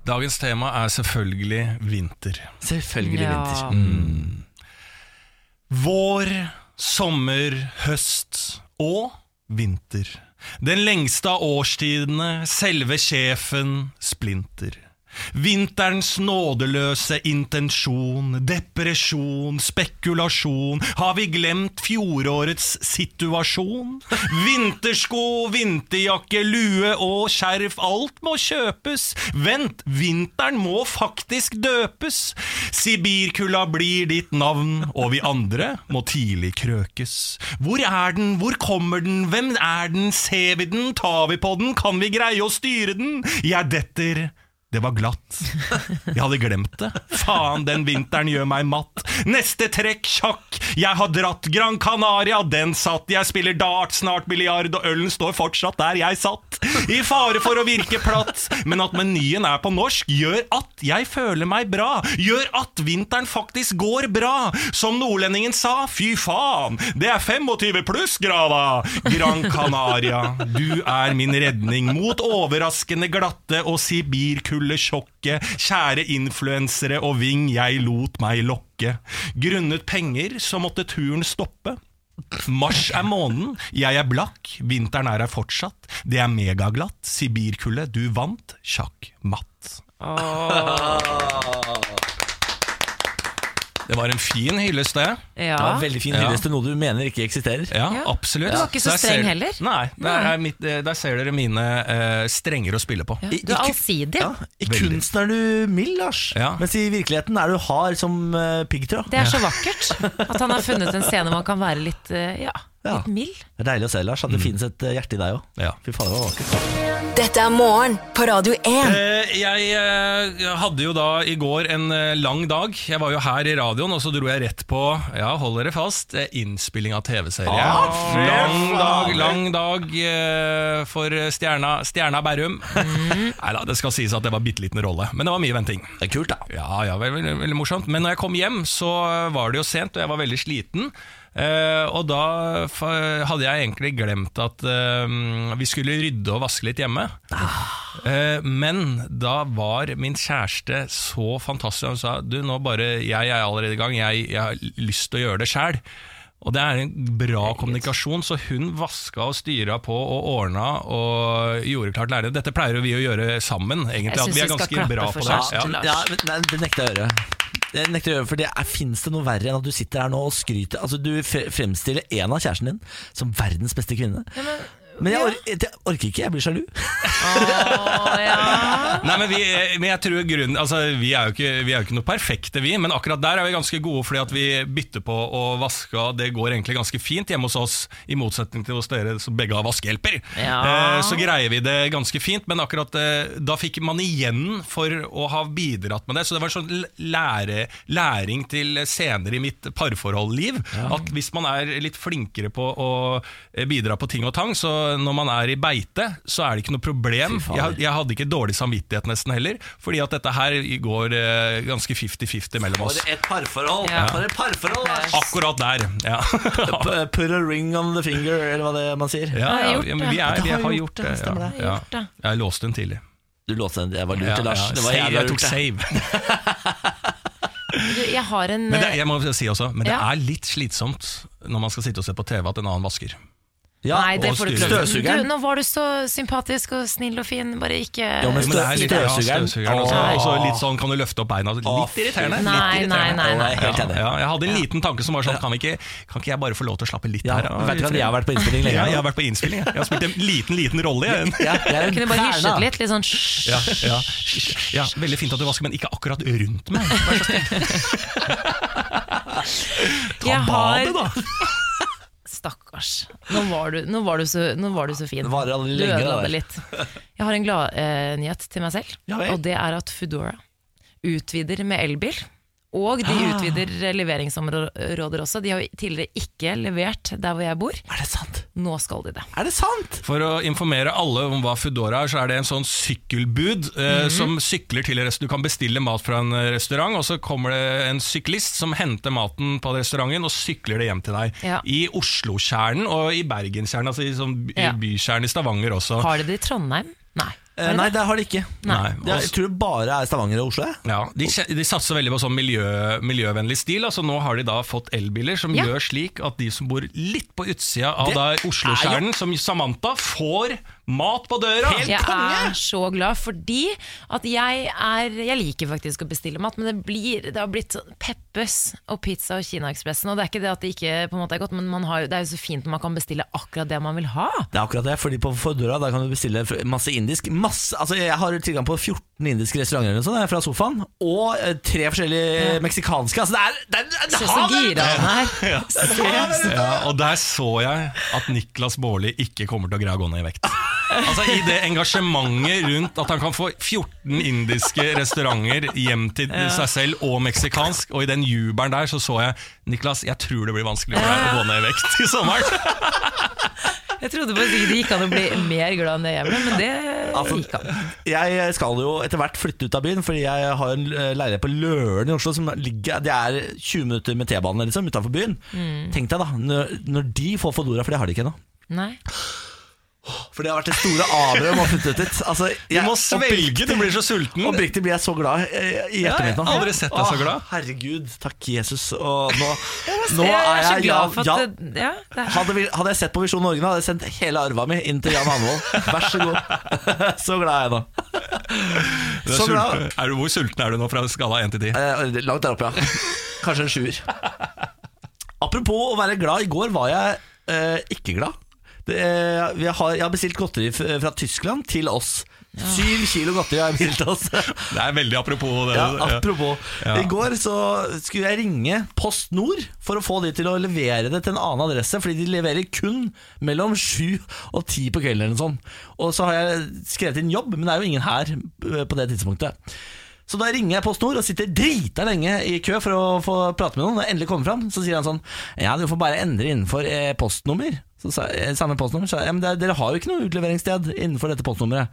Dagens tema er selvfølgelig vinter.
Selvfølgelig
Ja.
vinter.
Vår, sommer, høst og vinter. Den lengste av årstidene, selve sjefen, splinter. Vinterens nådeløse intensjon, depresjon, spekulasjon. Har vi glemt fjorårets situasjon? Vintersko, vinterjakke, lue og skjerf, alt må kjøpes. Vent, vinteren må faktisk døpes. Sibirkulda blir ditt navn, og vi andre må tidlig krøkes. Hvor er den, hvor kommer den, hvem er den, ser vi den, tar vi på den, kan vi greie å styre den? Jeg detter. Det var glatt. Jeg hadde glemt det. Faen, den vinteren gjør meg matt. Neste trekk, sjakk. Jeg har dratt Gran Canaria, den satt. Jeg spiller dart, snart biljard, og ølen står fortsatt der jeg satt. I fare for å virke platt, men at menyen er på norsk, gjør at jeg føler meg bra. Gjør at vinteren faktisk går bra. Som nordlendingen sa, fy faen, det er 25 pluss, grava. Gran Canaria, du er min redning mot overraskende glatte og sibirkuldesjokket. Kjære influensere og ving, jeg lot meg lokke. Grunnet penger så måtte turen stoppe. Mars er måneden, jeg er blakk, vinteren er her fortsatt. Det er megaglatt, sibirkulde, du vant, sjakk matt. Det var en fin hyllest, det.
Det var
Ja.
en veldig fin
Ja.
hyllest til noe du mener ikke eksisterer.
Ja,
Ja.
absolutt.
Du var ikke så
Der ser-
streng heller.
Nei, der, er mitt, eh, der ser dere mine eh, strenger å spille på.
Ja,
I-
Du er
i ku-
allsidig.
Ja, I
Veldig.
kunsten er du mild, Lars.
Ja.
Mens i virkeligheten er du hard som uh, piggtråd.
Det er så vakkert at han har funnet en scene man kan være litt, eh, ja,
Ja.
litt mild.
Det er deilig å se, Lars, at det finnes et eh, hjerte i deg òg.
Ja.
Fy faen, det var vakkert.
Dette er morgen på Radio 1.
Eh, jeg eh, hadde jo da i går en eh, lang dag. Jeg var jo her i radioen, og så dro jeg rett på ja, hold dere fast, eh, innspilling av TV-serie. lang dag, lang dag eh, for stjerna, stjerna Berrum. Nei da, det skal sies at det var bitte liten rolle, men det var mye venting.
Det er kult, da.
Ja, ja, veldig, veldig, veldig morsomt. Men når jeg kom hjem, så var det jo sent, og jeg var veldig sliten. Eh, og da fa- hadde jeg egentlig glemt at eh, vi skulle rydde og vaske litt hjemme.
Ah.
Eh, men da var min kjæreste så fantastisk. Hun sa du, nå bare, jeg er allerede i gang, jeg, jeg har lyst til å gjøre det sjæl. Og det er en bra kommunikasjon, så hun vaska og styra på og ordna og gjorde klart lærerne. Dette pleier jo vi å gjøre sammen, egentlig.
Jeg
at
synes
vi
vi
er
skal
ganske
klappe
bra
for
på det.
kjæresten
Ja.
Lars.
Ja, men, nei, det nekter jeg å gjøre. Det nekter jeg å gjøre, for det er, Fins det noe verre enn at du sitter her nå og skryter Altså, Du fre- fremstiller en av kjæresten din som verdens beste kvinne. men jeg, or jeg orker ikke, jeg blir sjalu.
Nei, men vi, men jeg tror grunnen, altså, vi er jo ikke, vi er jo ikke noe perfekte, vi, men akkurat der er vi ganske gode fordi at vi bytter på å vaske. og Det går egentlig ganske fint hjemme hos oss, i motsetning til hos dere som begge har vaskehjelper.
Ja.
Eh, så greier vi det ganske fint, men akkurat eh, da fikk man igjen for å ha bidratt med det. Så det var sånn l- lære, læring til senere i mitt parforhold-liv. At hvis man er litt flinkere på å eh, bidra på ting og tang, så når man er i beite, så er det ikke noe problem.
Fy faen.
Jeg, jeg hadde ikke dårlig samvittighet nesten heller, fordi at dette her går eh, ganske 50-50 mellom oss.
et parforhold!
Ja.
For et parforhold, Lars!
Akkurat
<laughs>
der, ja.
P- Put a ring on the finger, eller hva det er man sier.
ja,
Jeg har
ja,
gjort
ja men vi,
det.
er,
Det
vi
har
har
gjort
gjort
det,
det.
stemmer
Ja,
det.
Jeg
ja.
har gjort det.
Jeg låste den tidlig.
Du låste den, jeg var lurt
Ja,
til Lars.
ja.
Det var
Save,
jævla
jeg tok
lurt, det.
save.
Du, Jeg har en
Men det,
eh,
jeg må si også, men det
Ja.
er litt slitsomt når man skal sitte og se på TV at en annen vasker.
Ja,
Nei, det
og
får du ikke
styre.
lov til.
Støvsugeren.
Du, Nå var du så sympatisk og snill og fin, bare ikke
Jo, men
Jo, men det er litt- ja,
Støvsugeren.
støvsugeren også.
Åh.
Og så litt sånn kan du løfte opp beina. Litt irriterende.
Nei,
litt
nei,
irriterende.
nei, nei.
Jeg er helt enig.
Ja, jeg hadde en liten tanke som var sånn, kan, vi ikke, kan ikke jeg bare få lov til å slappe litt
Ja,
her? da?
vet du hva, jeg har vært på innspilling lenge.
Ja, jeg har vært på innspilling. Jeg Jeg har spilt en liten, liten rolle. Jeg.
Ja, jeg er en
Kunne bare
perna.
hysjet litt, litt sånn hysj.
Ja, ja. ja, Veldig fint at du vasker, men ikke akkurat rundt meg. Vær så snill. Ta
Jeg
badet,
har-
da!
<laughs> Stakkars. Nå var, du, nå, var du så, nå var du så fin.
Det varer aldri
du
lenge, det
ødela
der.
det litt. Jeg har en gladnyhet eh, nyhet til meg selv,
Ja vel.
og det er at Foodora utvider med elbil. Og de
Ah.
utvider eh, leveringsområder også. De har jo tidligere ikke levert der hvor jeg bor.
Er det sant?
Nå skal de det.
Er det sant?
For å informere alle om hva Foodora er, så er det en sånn sykkelbud eh, som sykler til rest- Du kan bestille mat fra en eh, restaurant, og så kommer det en syklist som henter maten på restauranten og sykler det hjem til deg.
Ja.
I Oslokjernen og i Bergenskjernen, altså i, sånn, by-
Ja.
i bykjernen i Stavanger også.
<laughs> Har de det i Trondheim? Nei.
Eh, nei, altså- det har de ikke.
Nei.
Det er, jeg tror det bare er Stavanger og Oslo. jeg.
Ja, de, kje- de satser veldig på sånn miljø, miljøvennlig stil. Altså nå har de da fått elbiler som
Ja.
gjør slik at de som bor litt på utsida av
Det
da
er jo-
Oslokjernen, som Samantha, får mat på døra!
jeg er så glad fordi at jeg er Jeg liker faktisk å bestille mat, men det, blir, det har blitt sånn Peppes og pizza og Kinaekspressen. Og det er ikke det at det ikke på en måte er godt, men man har, jo- det er jo så fint når man kan bestille akkurat det man vil ha.
Det er akkurat det, fordi på Foodora der kan du bestille f- masse indisk. Masse, altså jeg har tilgang på 14 indiske restauranter eller noe sånt, jeg, fra sofaen, og eh, tre forskjellige eh, meksikanske. Altså det er, det er, det
Se
er
så
havet!
gira han er.
Ja, og der så jeg at Niklas Baarli ikke kommer til å greie å gå ned i vekt. Altså I det engasjementet rundt at han kan få 14 indiske restauranter hjem til seg selv, og meksikansk, og i den jubelen der så så jeg Niklas, jeg tror det blir vanskelig for deg å gå ned i vekt i sommeren.
Jeg trodde faktisk ikke det gikk an å bli mer glad enn det jeg ble, men det
Altså,
gikk an.
Jeg skal jo etter hvert flytte ut av byen, fordi jeg har en eh, leilighet på Løren i Oslo som ligger Det er 20 minutter med T-bane liksom, utenfor byen.
Mm.
Tenk deg da, når, når de får Foodora, for det har de ikke ennå.
Nei.
For det har vært det store avgjøret om å flytte ut dit. Altså,
Du
jeg-
må svelge, du blir så sulten.
Oppriktig blir jeg så glad eh, i
Mm. Ja,
hjertet
jeg
mitt nå.
har aldri sett deg så
Åh,
glad.
Herregud, takk Jesus. Og nå, nå
jeg
er
er så
jeg
glad for
ja,
at det, ja, det er
hadde, vi, hadde jeg sett på Visjon Norge nå, hadde jeg sendt hele arva mi inn til Jan Hanvold. Vær så god. <laughs> så glad er jeg nå.
Du er
Så glad.
sulten. Er du, hvor sulten er du nå fra skala 1 til 10?
Eh, langt der oppe, ja. Kanskje en sjuer. Apropos å være glad, i går var jeg eh, ikke glad. Det, eh, vi har, jeg har bestilt godteri f- fra Tyskland til oss. Syv kilo godteri har jeg bestilt
<laughs>
oss.
Det er veldig apropos det.
Ja, apropos.
Ja.
I går så skulle jeg ringe Post Nord for å få de til å levere det til en annen adresse, fordi de leverer kun mellom sju og ti på kvelden eller noe sånt. Og så har jeg skrevet inn jobb, men det er jo ingen her eh, på det tidspunktet. Så da ringer jeg PostNord og sitter drita lenge i kø for å få prate med noen. Når jeg endelig kommer fram, så sier han sånn Ja, du får bare endre innenfor eh, postnummer. Så sa, eh, samme postnummer. Så, ja, men det, dere har jo ikke noe utleveringssted innenfor dette postnummeret.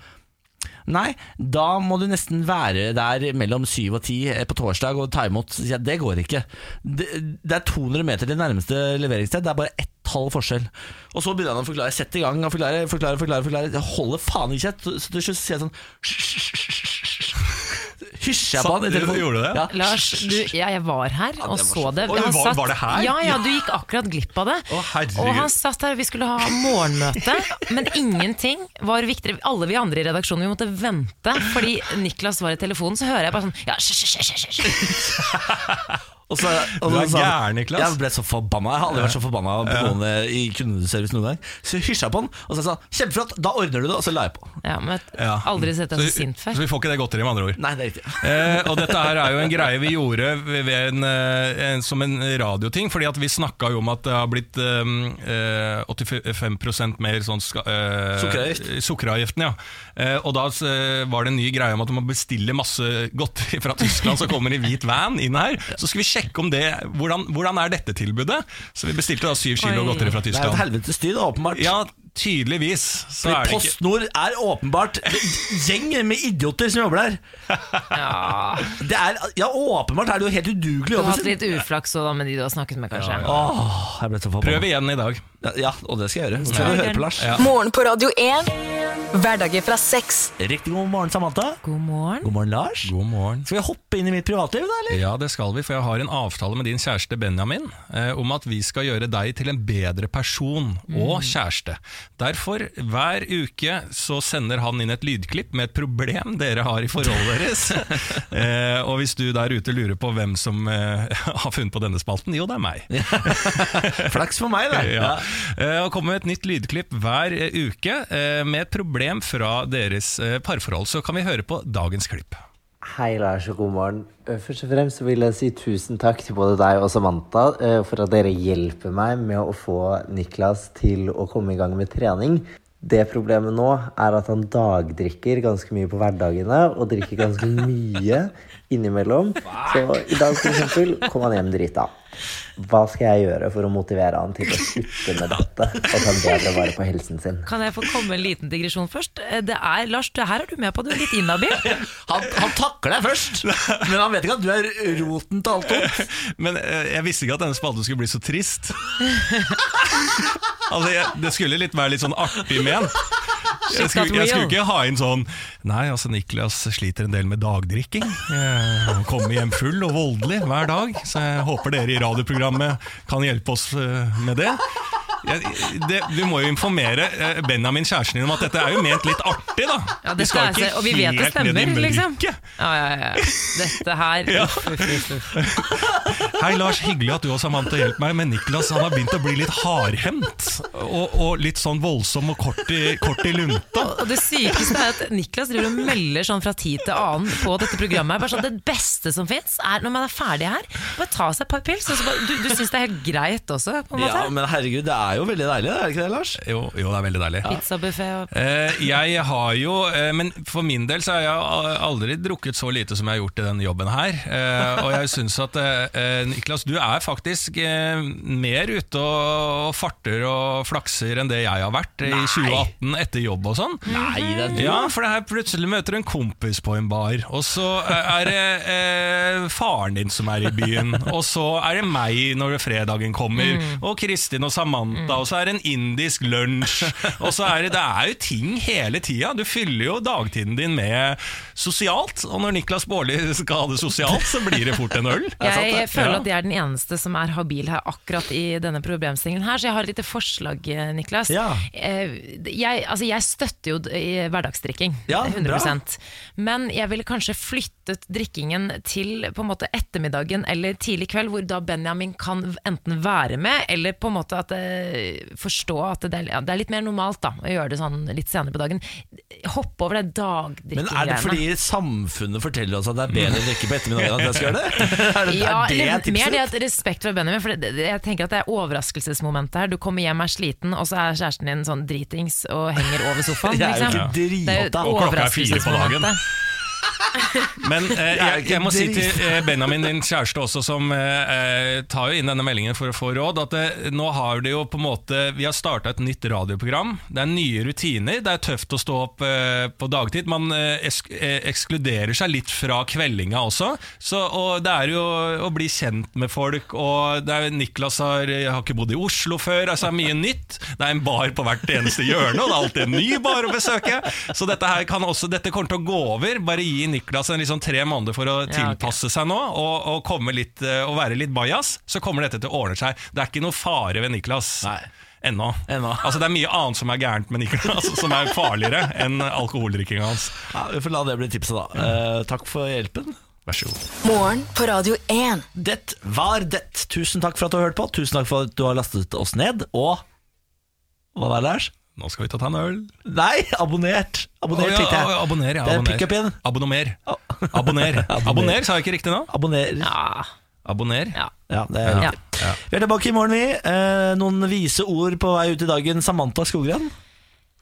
Nei, da må du nesten være der mellom syv og ti eh, på torsdag og ta imot. Så sier jeg, det går ikke. Det, det er 200 meter til nærmeste leveringssted. Det er bare ett halv forskjell. Og så begynner han å forklare. Sett i gang og forklare, forklare, forklare. forklare. Jeg holder faen ikke kjeft. Så til slutt sier jeg sånn Hysjer jeg på han i
Så-
telefonen.
gjorde du det?
Ja.
<laughs>
Lars, du, ja, jeg var her og så det.
Oi,
Han
var-
satt-
var det her?
Ja, ja, du gikk akkurat glipp av det.
Å, herregud.
og han satt der, vi skulle ha morgenmøte, men ingenting var viktigere. Alle vi andre i redaksjonen, vi måtte vente, fordi Niklas var i telefonen, så hører jeg bare sånn ja, sj, sj, sj, sj, sj.
Og så, og
Du er
så sa han-
gæren, Niklas.
Jeg ble så forbanna. Jeg har aldri vært så forbanna på noen eh, i kundeservice noen gang. Så hysja jeg på han, og så sa han 'kjempeflott, da ordner du det', og så la jeg på.
Ja, men jeg
Ja.
har aldri sett deg så sint
Så
før.
vi får ikke det godteriet, med andre ord.
Nei, det er riktig.
Eh, og dette her er jo en greie vi gjorde ved ved en, eh, en, som en radioting, fordi at vi snakka jo om at det har blitt eh, eh, 85 mer sånn ska, eh,
Sukkeravgift.
Sukkeravgiften, ja. Eh, og da eh, var det en ny greie om at man bestiller masse godteri <laughs> fra Tyskland som kommer i hvit van inn her. Så skulle vi sjekke om det hvordan, hvordan er dette tilbudet? Så vi bestilte da syv kilo
Oi.
godteri fra
Det er jo et
Tyskland.
helvetes styr, åpenbart.
Ja, tydeligvis. Så
Fordi
er det ikke
PostNord er åpenbart gjeng med idioter som jobber der. Det er, ja, åpenbart er det jo helt udugelig
Du har
jobben
hatt
sin.
litt uflaks også, da, med de du har snakket med, kanskje.
Åh, jeg ble så
Prøv
forbanna.
igjen i dag.
Ja, Ja, og det skal jeg gjøre. Så skal du høre på Lars.
Morgen på Radio 1. Hverdager fra seks.
Riktig god morgen, Samantha.
God morgen.
God morgen, Lars.
God morgen.
Skal vi hoppe inn i mitt privatliv, da, eller?
Ja, det skal vi, for jeg har en avtale med din kjæreste Benjamin eh, om at vi skal gjøre deg til en bedre person og kjæreste. Derfor, hver uke så sender han inn et lydklipp med et problem dere har i forholdet deres. eh, og hvis du der ute lurer på hvem som eh, har funnet på denne spalten, jo, det er meg.
Flaks for <laughs> meg, det.
<laughs> Ja. Eh, Og kommer med et nytt lydklipp hver eh, uke eh, med et problem fra deres eh, parforhold. Så kan vi høre på dagens klipp.
Hei, Lars, og god morgen. Eh, Først og fremst så vil jeg si tusen takk til både deg og Samantha eh, for at dere hjelper meg med å få Niklas til å komme i gang med trening. Det problemet nå er at han dagdrikker ganske mye på hverdagene, og drikker ganske mye innimellom. Så i dag for eksempel kom han hjem drita. Hva skal jeg gjøre for å motivere han til å slutte med dette og ta bedre vare på helsen sin?
Kan jeg få komme med en liten digresjon først? Eh, Det er, Lars, det her er du med på, du er litt inhabil.
<laughs>
Han, han takler deg først, men han vet ikke at du er roten til alt ondt.
<laughs> Men eh, jeg visste ikke at denne spalten skulle bli så
<laughs>
trist. altså, jeg, det skulle litt være litt sånn artig ment. Jeg skulle, jeg skulle ikke ha inn sånn Nei, altså Niklas sliter en del med dagdrikking. Eh, Han kommer hjem full og voldelig hver dag, så jeg håper dere i radioprogrammet kan hjelpe oss eh, med det. Jeg, det, du må jo informere eh, Benjamin, kjæresten din, om at dette er jo ment litt artig, da.
Ja,
Vi
dette
skal
er
ikke
så- og vi vet
helt
det
ned i
stemmer, liksom.
mørket.
Ja, ja, ja. Dette
<laughs>
her uff, uff, uff, uff.
Hei Lars, hyggelig at du og Samantha hjelper meg, men Niklas han har begynt å bli litt hardhendt. Og, og litt sånn voldsom og kort i, kort i lunta.
Og det sykeste er at Niklas driver og melder sånn fra tid til annen på dette programmet. Bare sånn, Det beste som fins, er når man er ferdig her, bare ta seg et par pils. og så bare- Du, du syns det er helt greit også, på en måte?
Ja, men herregud, det er jo veldig deilig, er det ikke det, Lars?
Jo, jo, det er veldig deilig.
Pizzabuffé og
Eh, jeg har jo, eh, men for min del så har jeg al- aldri drukket så lite som jeg har gjort i denne jobben her. Eh, og jeg syns at eh, eh, Niklas, du er faktisk eh, mer ute og, og farter og flakser enn det jeg har vært i 2018 etter jobb og sånn.
Nei, det er
Ja, for det her plutselig møter du en kompis på en bar, og så eh, er det eh, faren din som er i byen, og så er det meg når fredagen kommer,
Mm.
og Kristin og Samantha, og så er det en indisk lunsj, og så er det, det er jo ting hele tida. Du fyller jo dagtiden din med sosialt, og når Niklas Baarli skal ha det sosialt, så blir det fort en
<laughs>
øl.
Jeg, føler at
Ja.
jeg er den eneste som er habil her akkurat i denne problemstillingen her, så jeg har et lite forslag, eh, Niklas.
Ja.
Eh, Jeg, altså jeg støtter jo d- i hverdagsdrikking,
Ja,
100 Men jeg ville kanskje flyttet drikkingen til på en måte ettermiddagen eller tidlig kveld, hvor da Benjamin kan enten være med, eller på en måte at, eh, forstå at det er, ja, det er litt mer normalt da, å gjøre det sånn litt senere på dagen. Hoppe over det
Men er det
dagdrikkegreiene.
fordi samfunnet forteller oss at det er bedre å drikke på ettermiddagen enn at jeg skal gjøre det? Er det,
<laughs> Ja,
er det
eller
tipset?
mer det at respekt for Benjamin. For det, det, jeg tenker at det er overraskelsesmomentet her. Du kommer hjem, er sliten, og så er kjæresten din sånn dritings og henger over
<laughs>
sofaen.
Jeg er jo
Liksom.
ikke
Det er jo
drita.
et
Og klokka er fire på dagen.
overraskelsesmomentet.
Men eh, jeg,
ikke
jeg må si
drit.
til eh, Benjamin, din kjæreste også, som eh, eh, tar jo inn denne meldingen for å få råd, at eh, nå har det jo på en måte Vi har starta et nytt radioprogram. Det er nye rutiner. Det er tøft å stå opp eh, på dagtid. Man eh, esk eh, ekskluderer seg litt fra kveldinga også. Så, og det er jo å bli kjent med folk, og det er, Niklas har, har ikke bodd i Oslo før. Altså, det er mye nytt. Det er en bar på hvert eneste hjørne, og det er alltid en ny bar å besøke. Så dette her kan også Dette kommer til å gå over. Bare gi Niklas en liksom tre måneder for å
Ja, ok.
tilpasse seg nå, og, og, komme litt, eh, og være litt bajas, så kommer dette til å ordne seg. Det er ikke noe fare ved Niklas.
Nei.
Ennå.
Ennå.
<laughs> Altså, det er mye annet som er gærent med Niklas, <laughs> som er farligere enn alkoholdrikkinga hans.
Ja, vi får la det bli tipset, da. Eh, takk for hjelpen.
Vær så god.
Morgen på Radio 1.
Det var det. Tusen takk for at du har hørt på. Tusen takk for at du har lastet oss ned. Og hva var det, Lars?
Nå skal vi ta ta en øl.
Nei, abonnert. Abonnert,
Å, ja,
tenkte
å,
jeg.
Abonner,
Det
ja,
er
abonner.
pick-up igjen.
Abonner.
<laughs>
Abonner. Abonner, sa jeg ikke riktig nå?
Abonner. Ja.
Ja,
Abonner.
ja.
det er
Ja.
riktig. Vi er tilbake i morgen, vi. Eh, noen vise ord på vei ut i dagen. Samantha Skogran?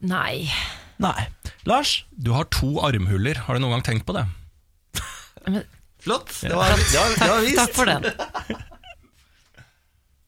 Nei.
Nei. Lars?
Du har to armhuler, har du noen gang tenkt på det?
Flott. Det var, det var, det var vist.
Takk for den.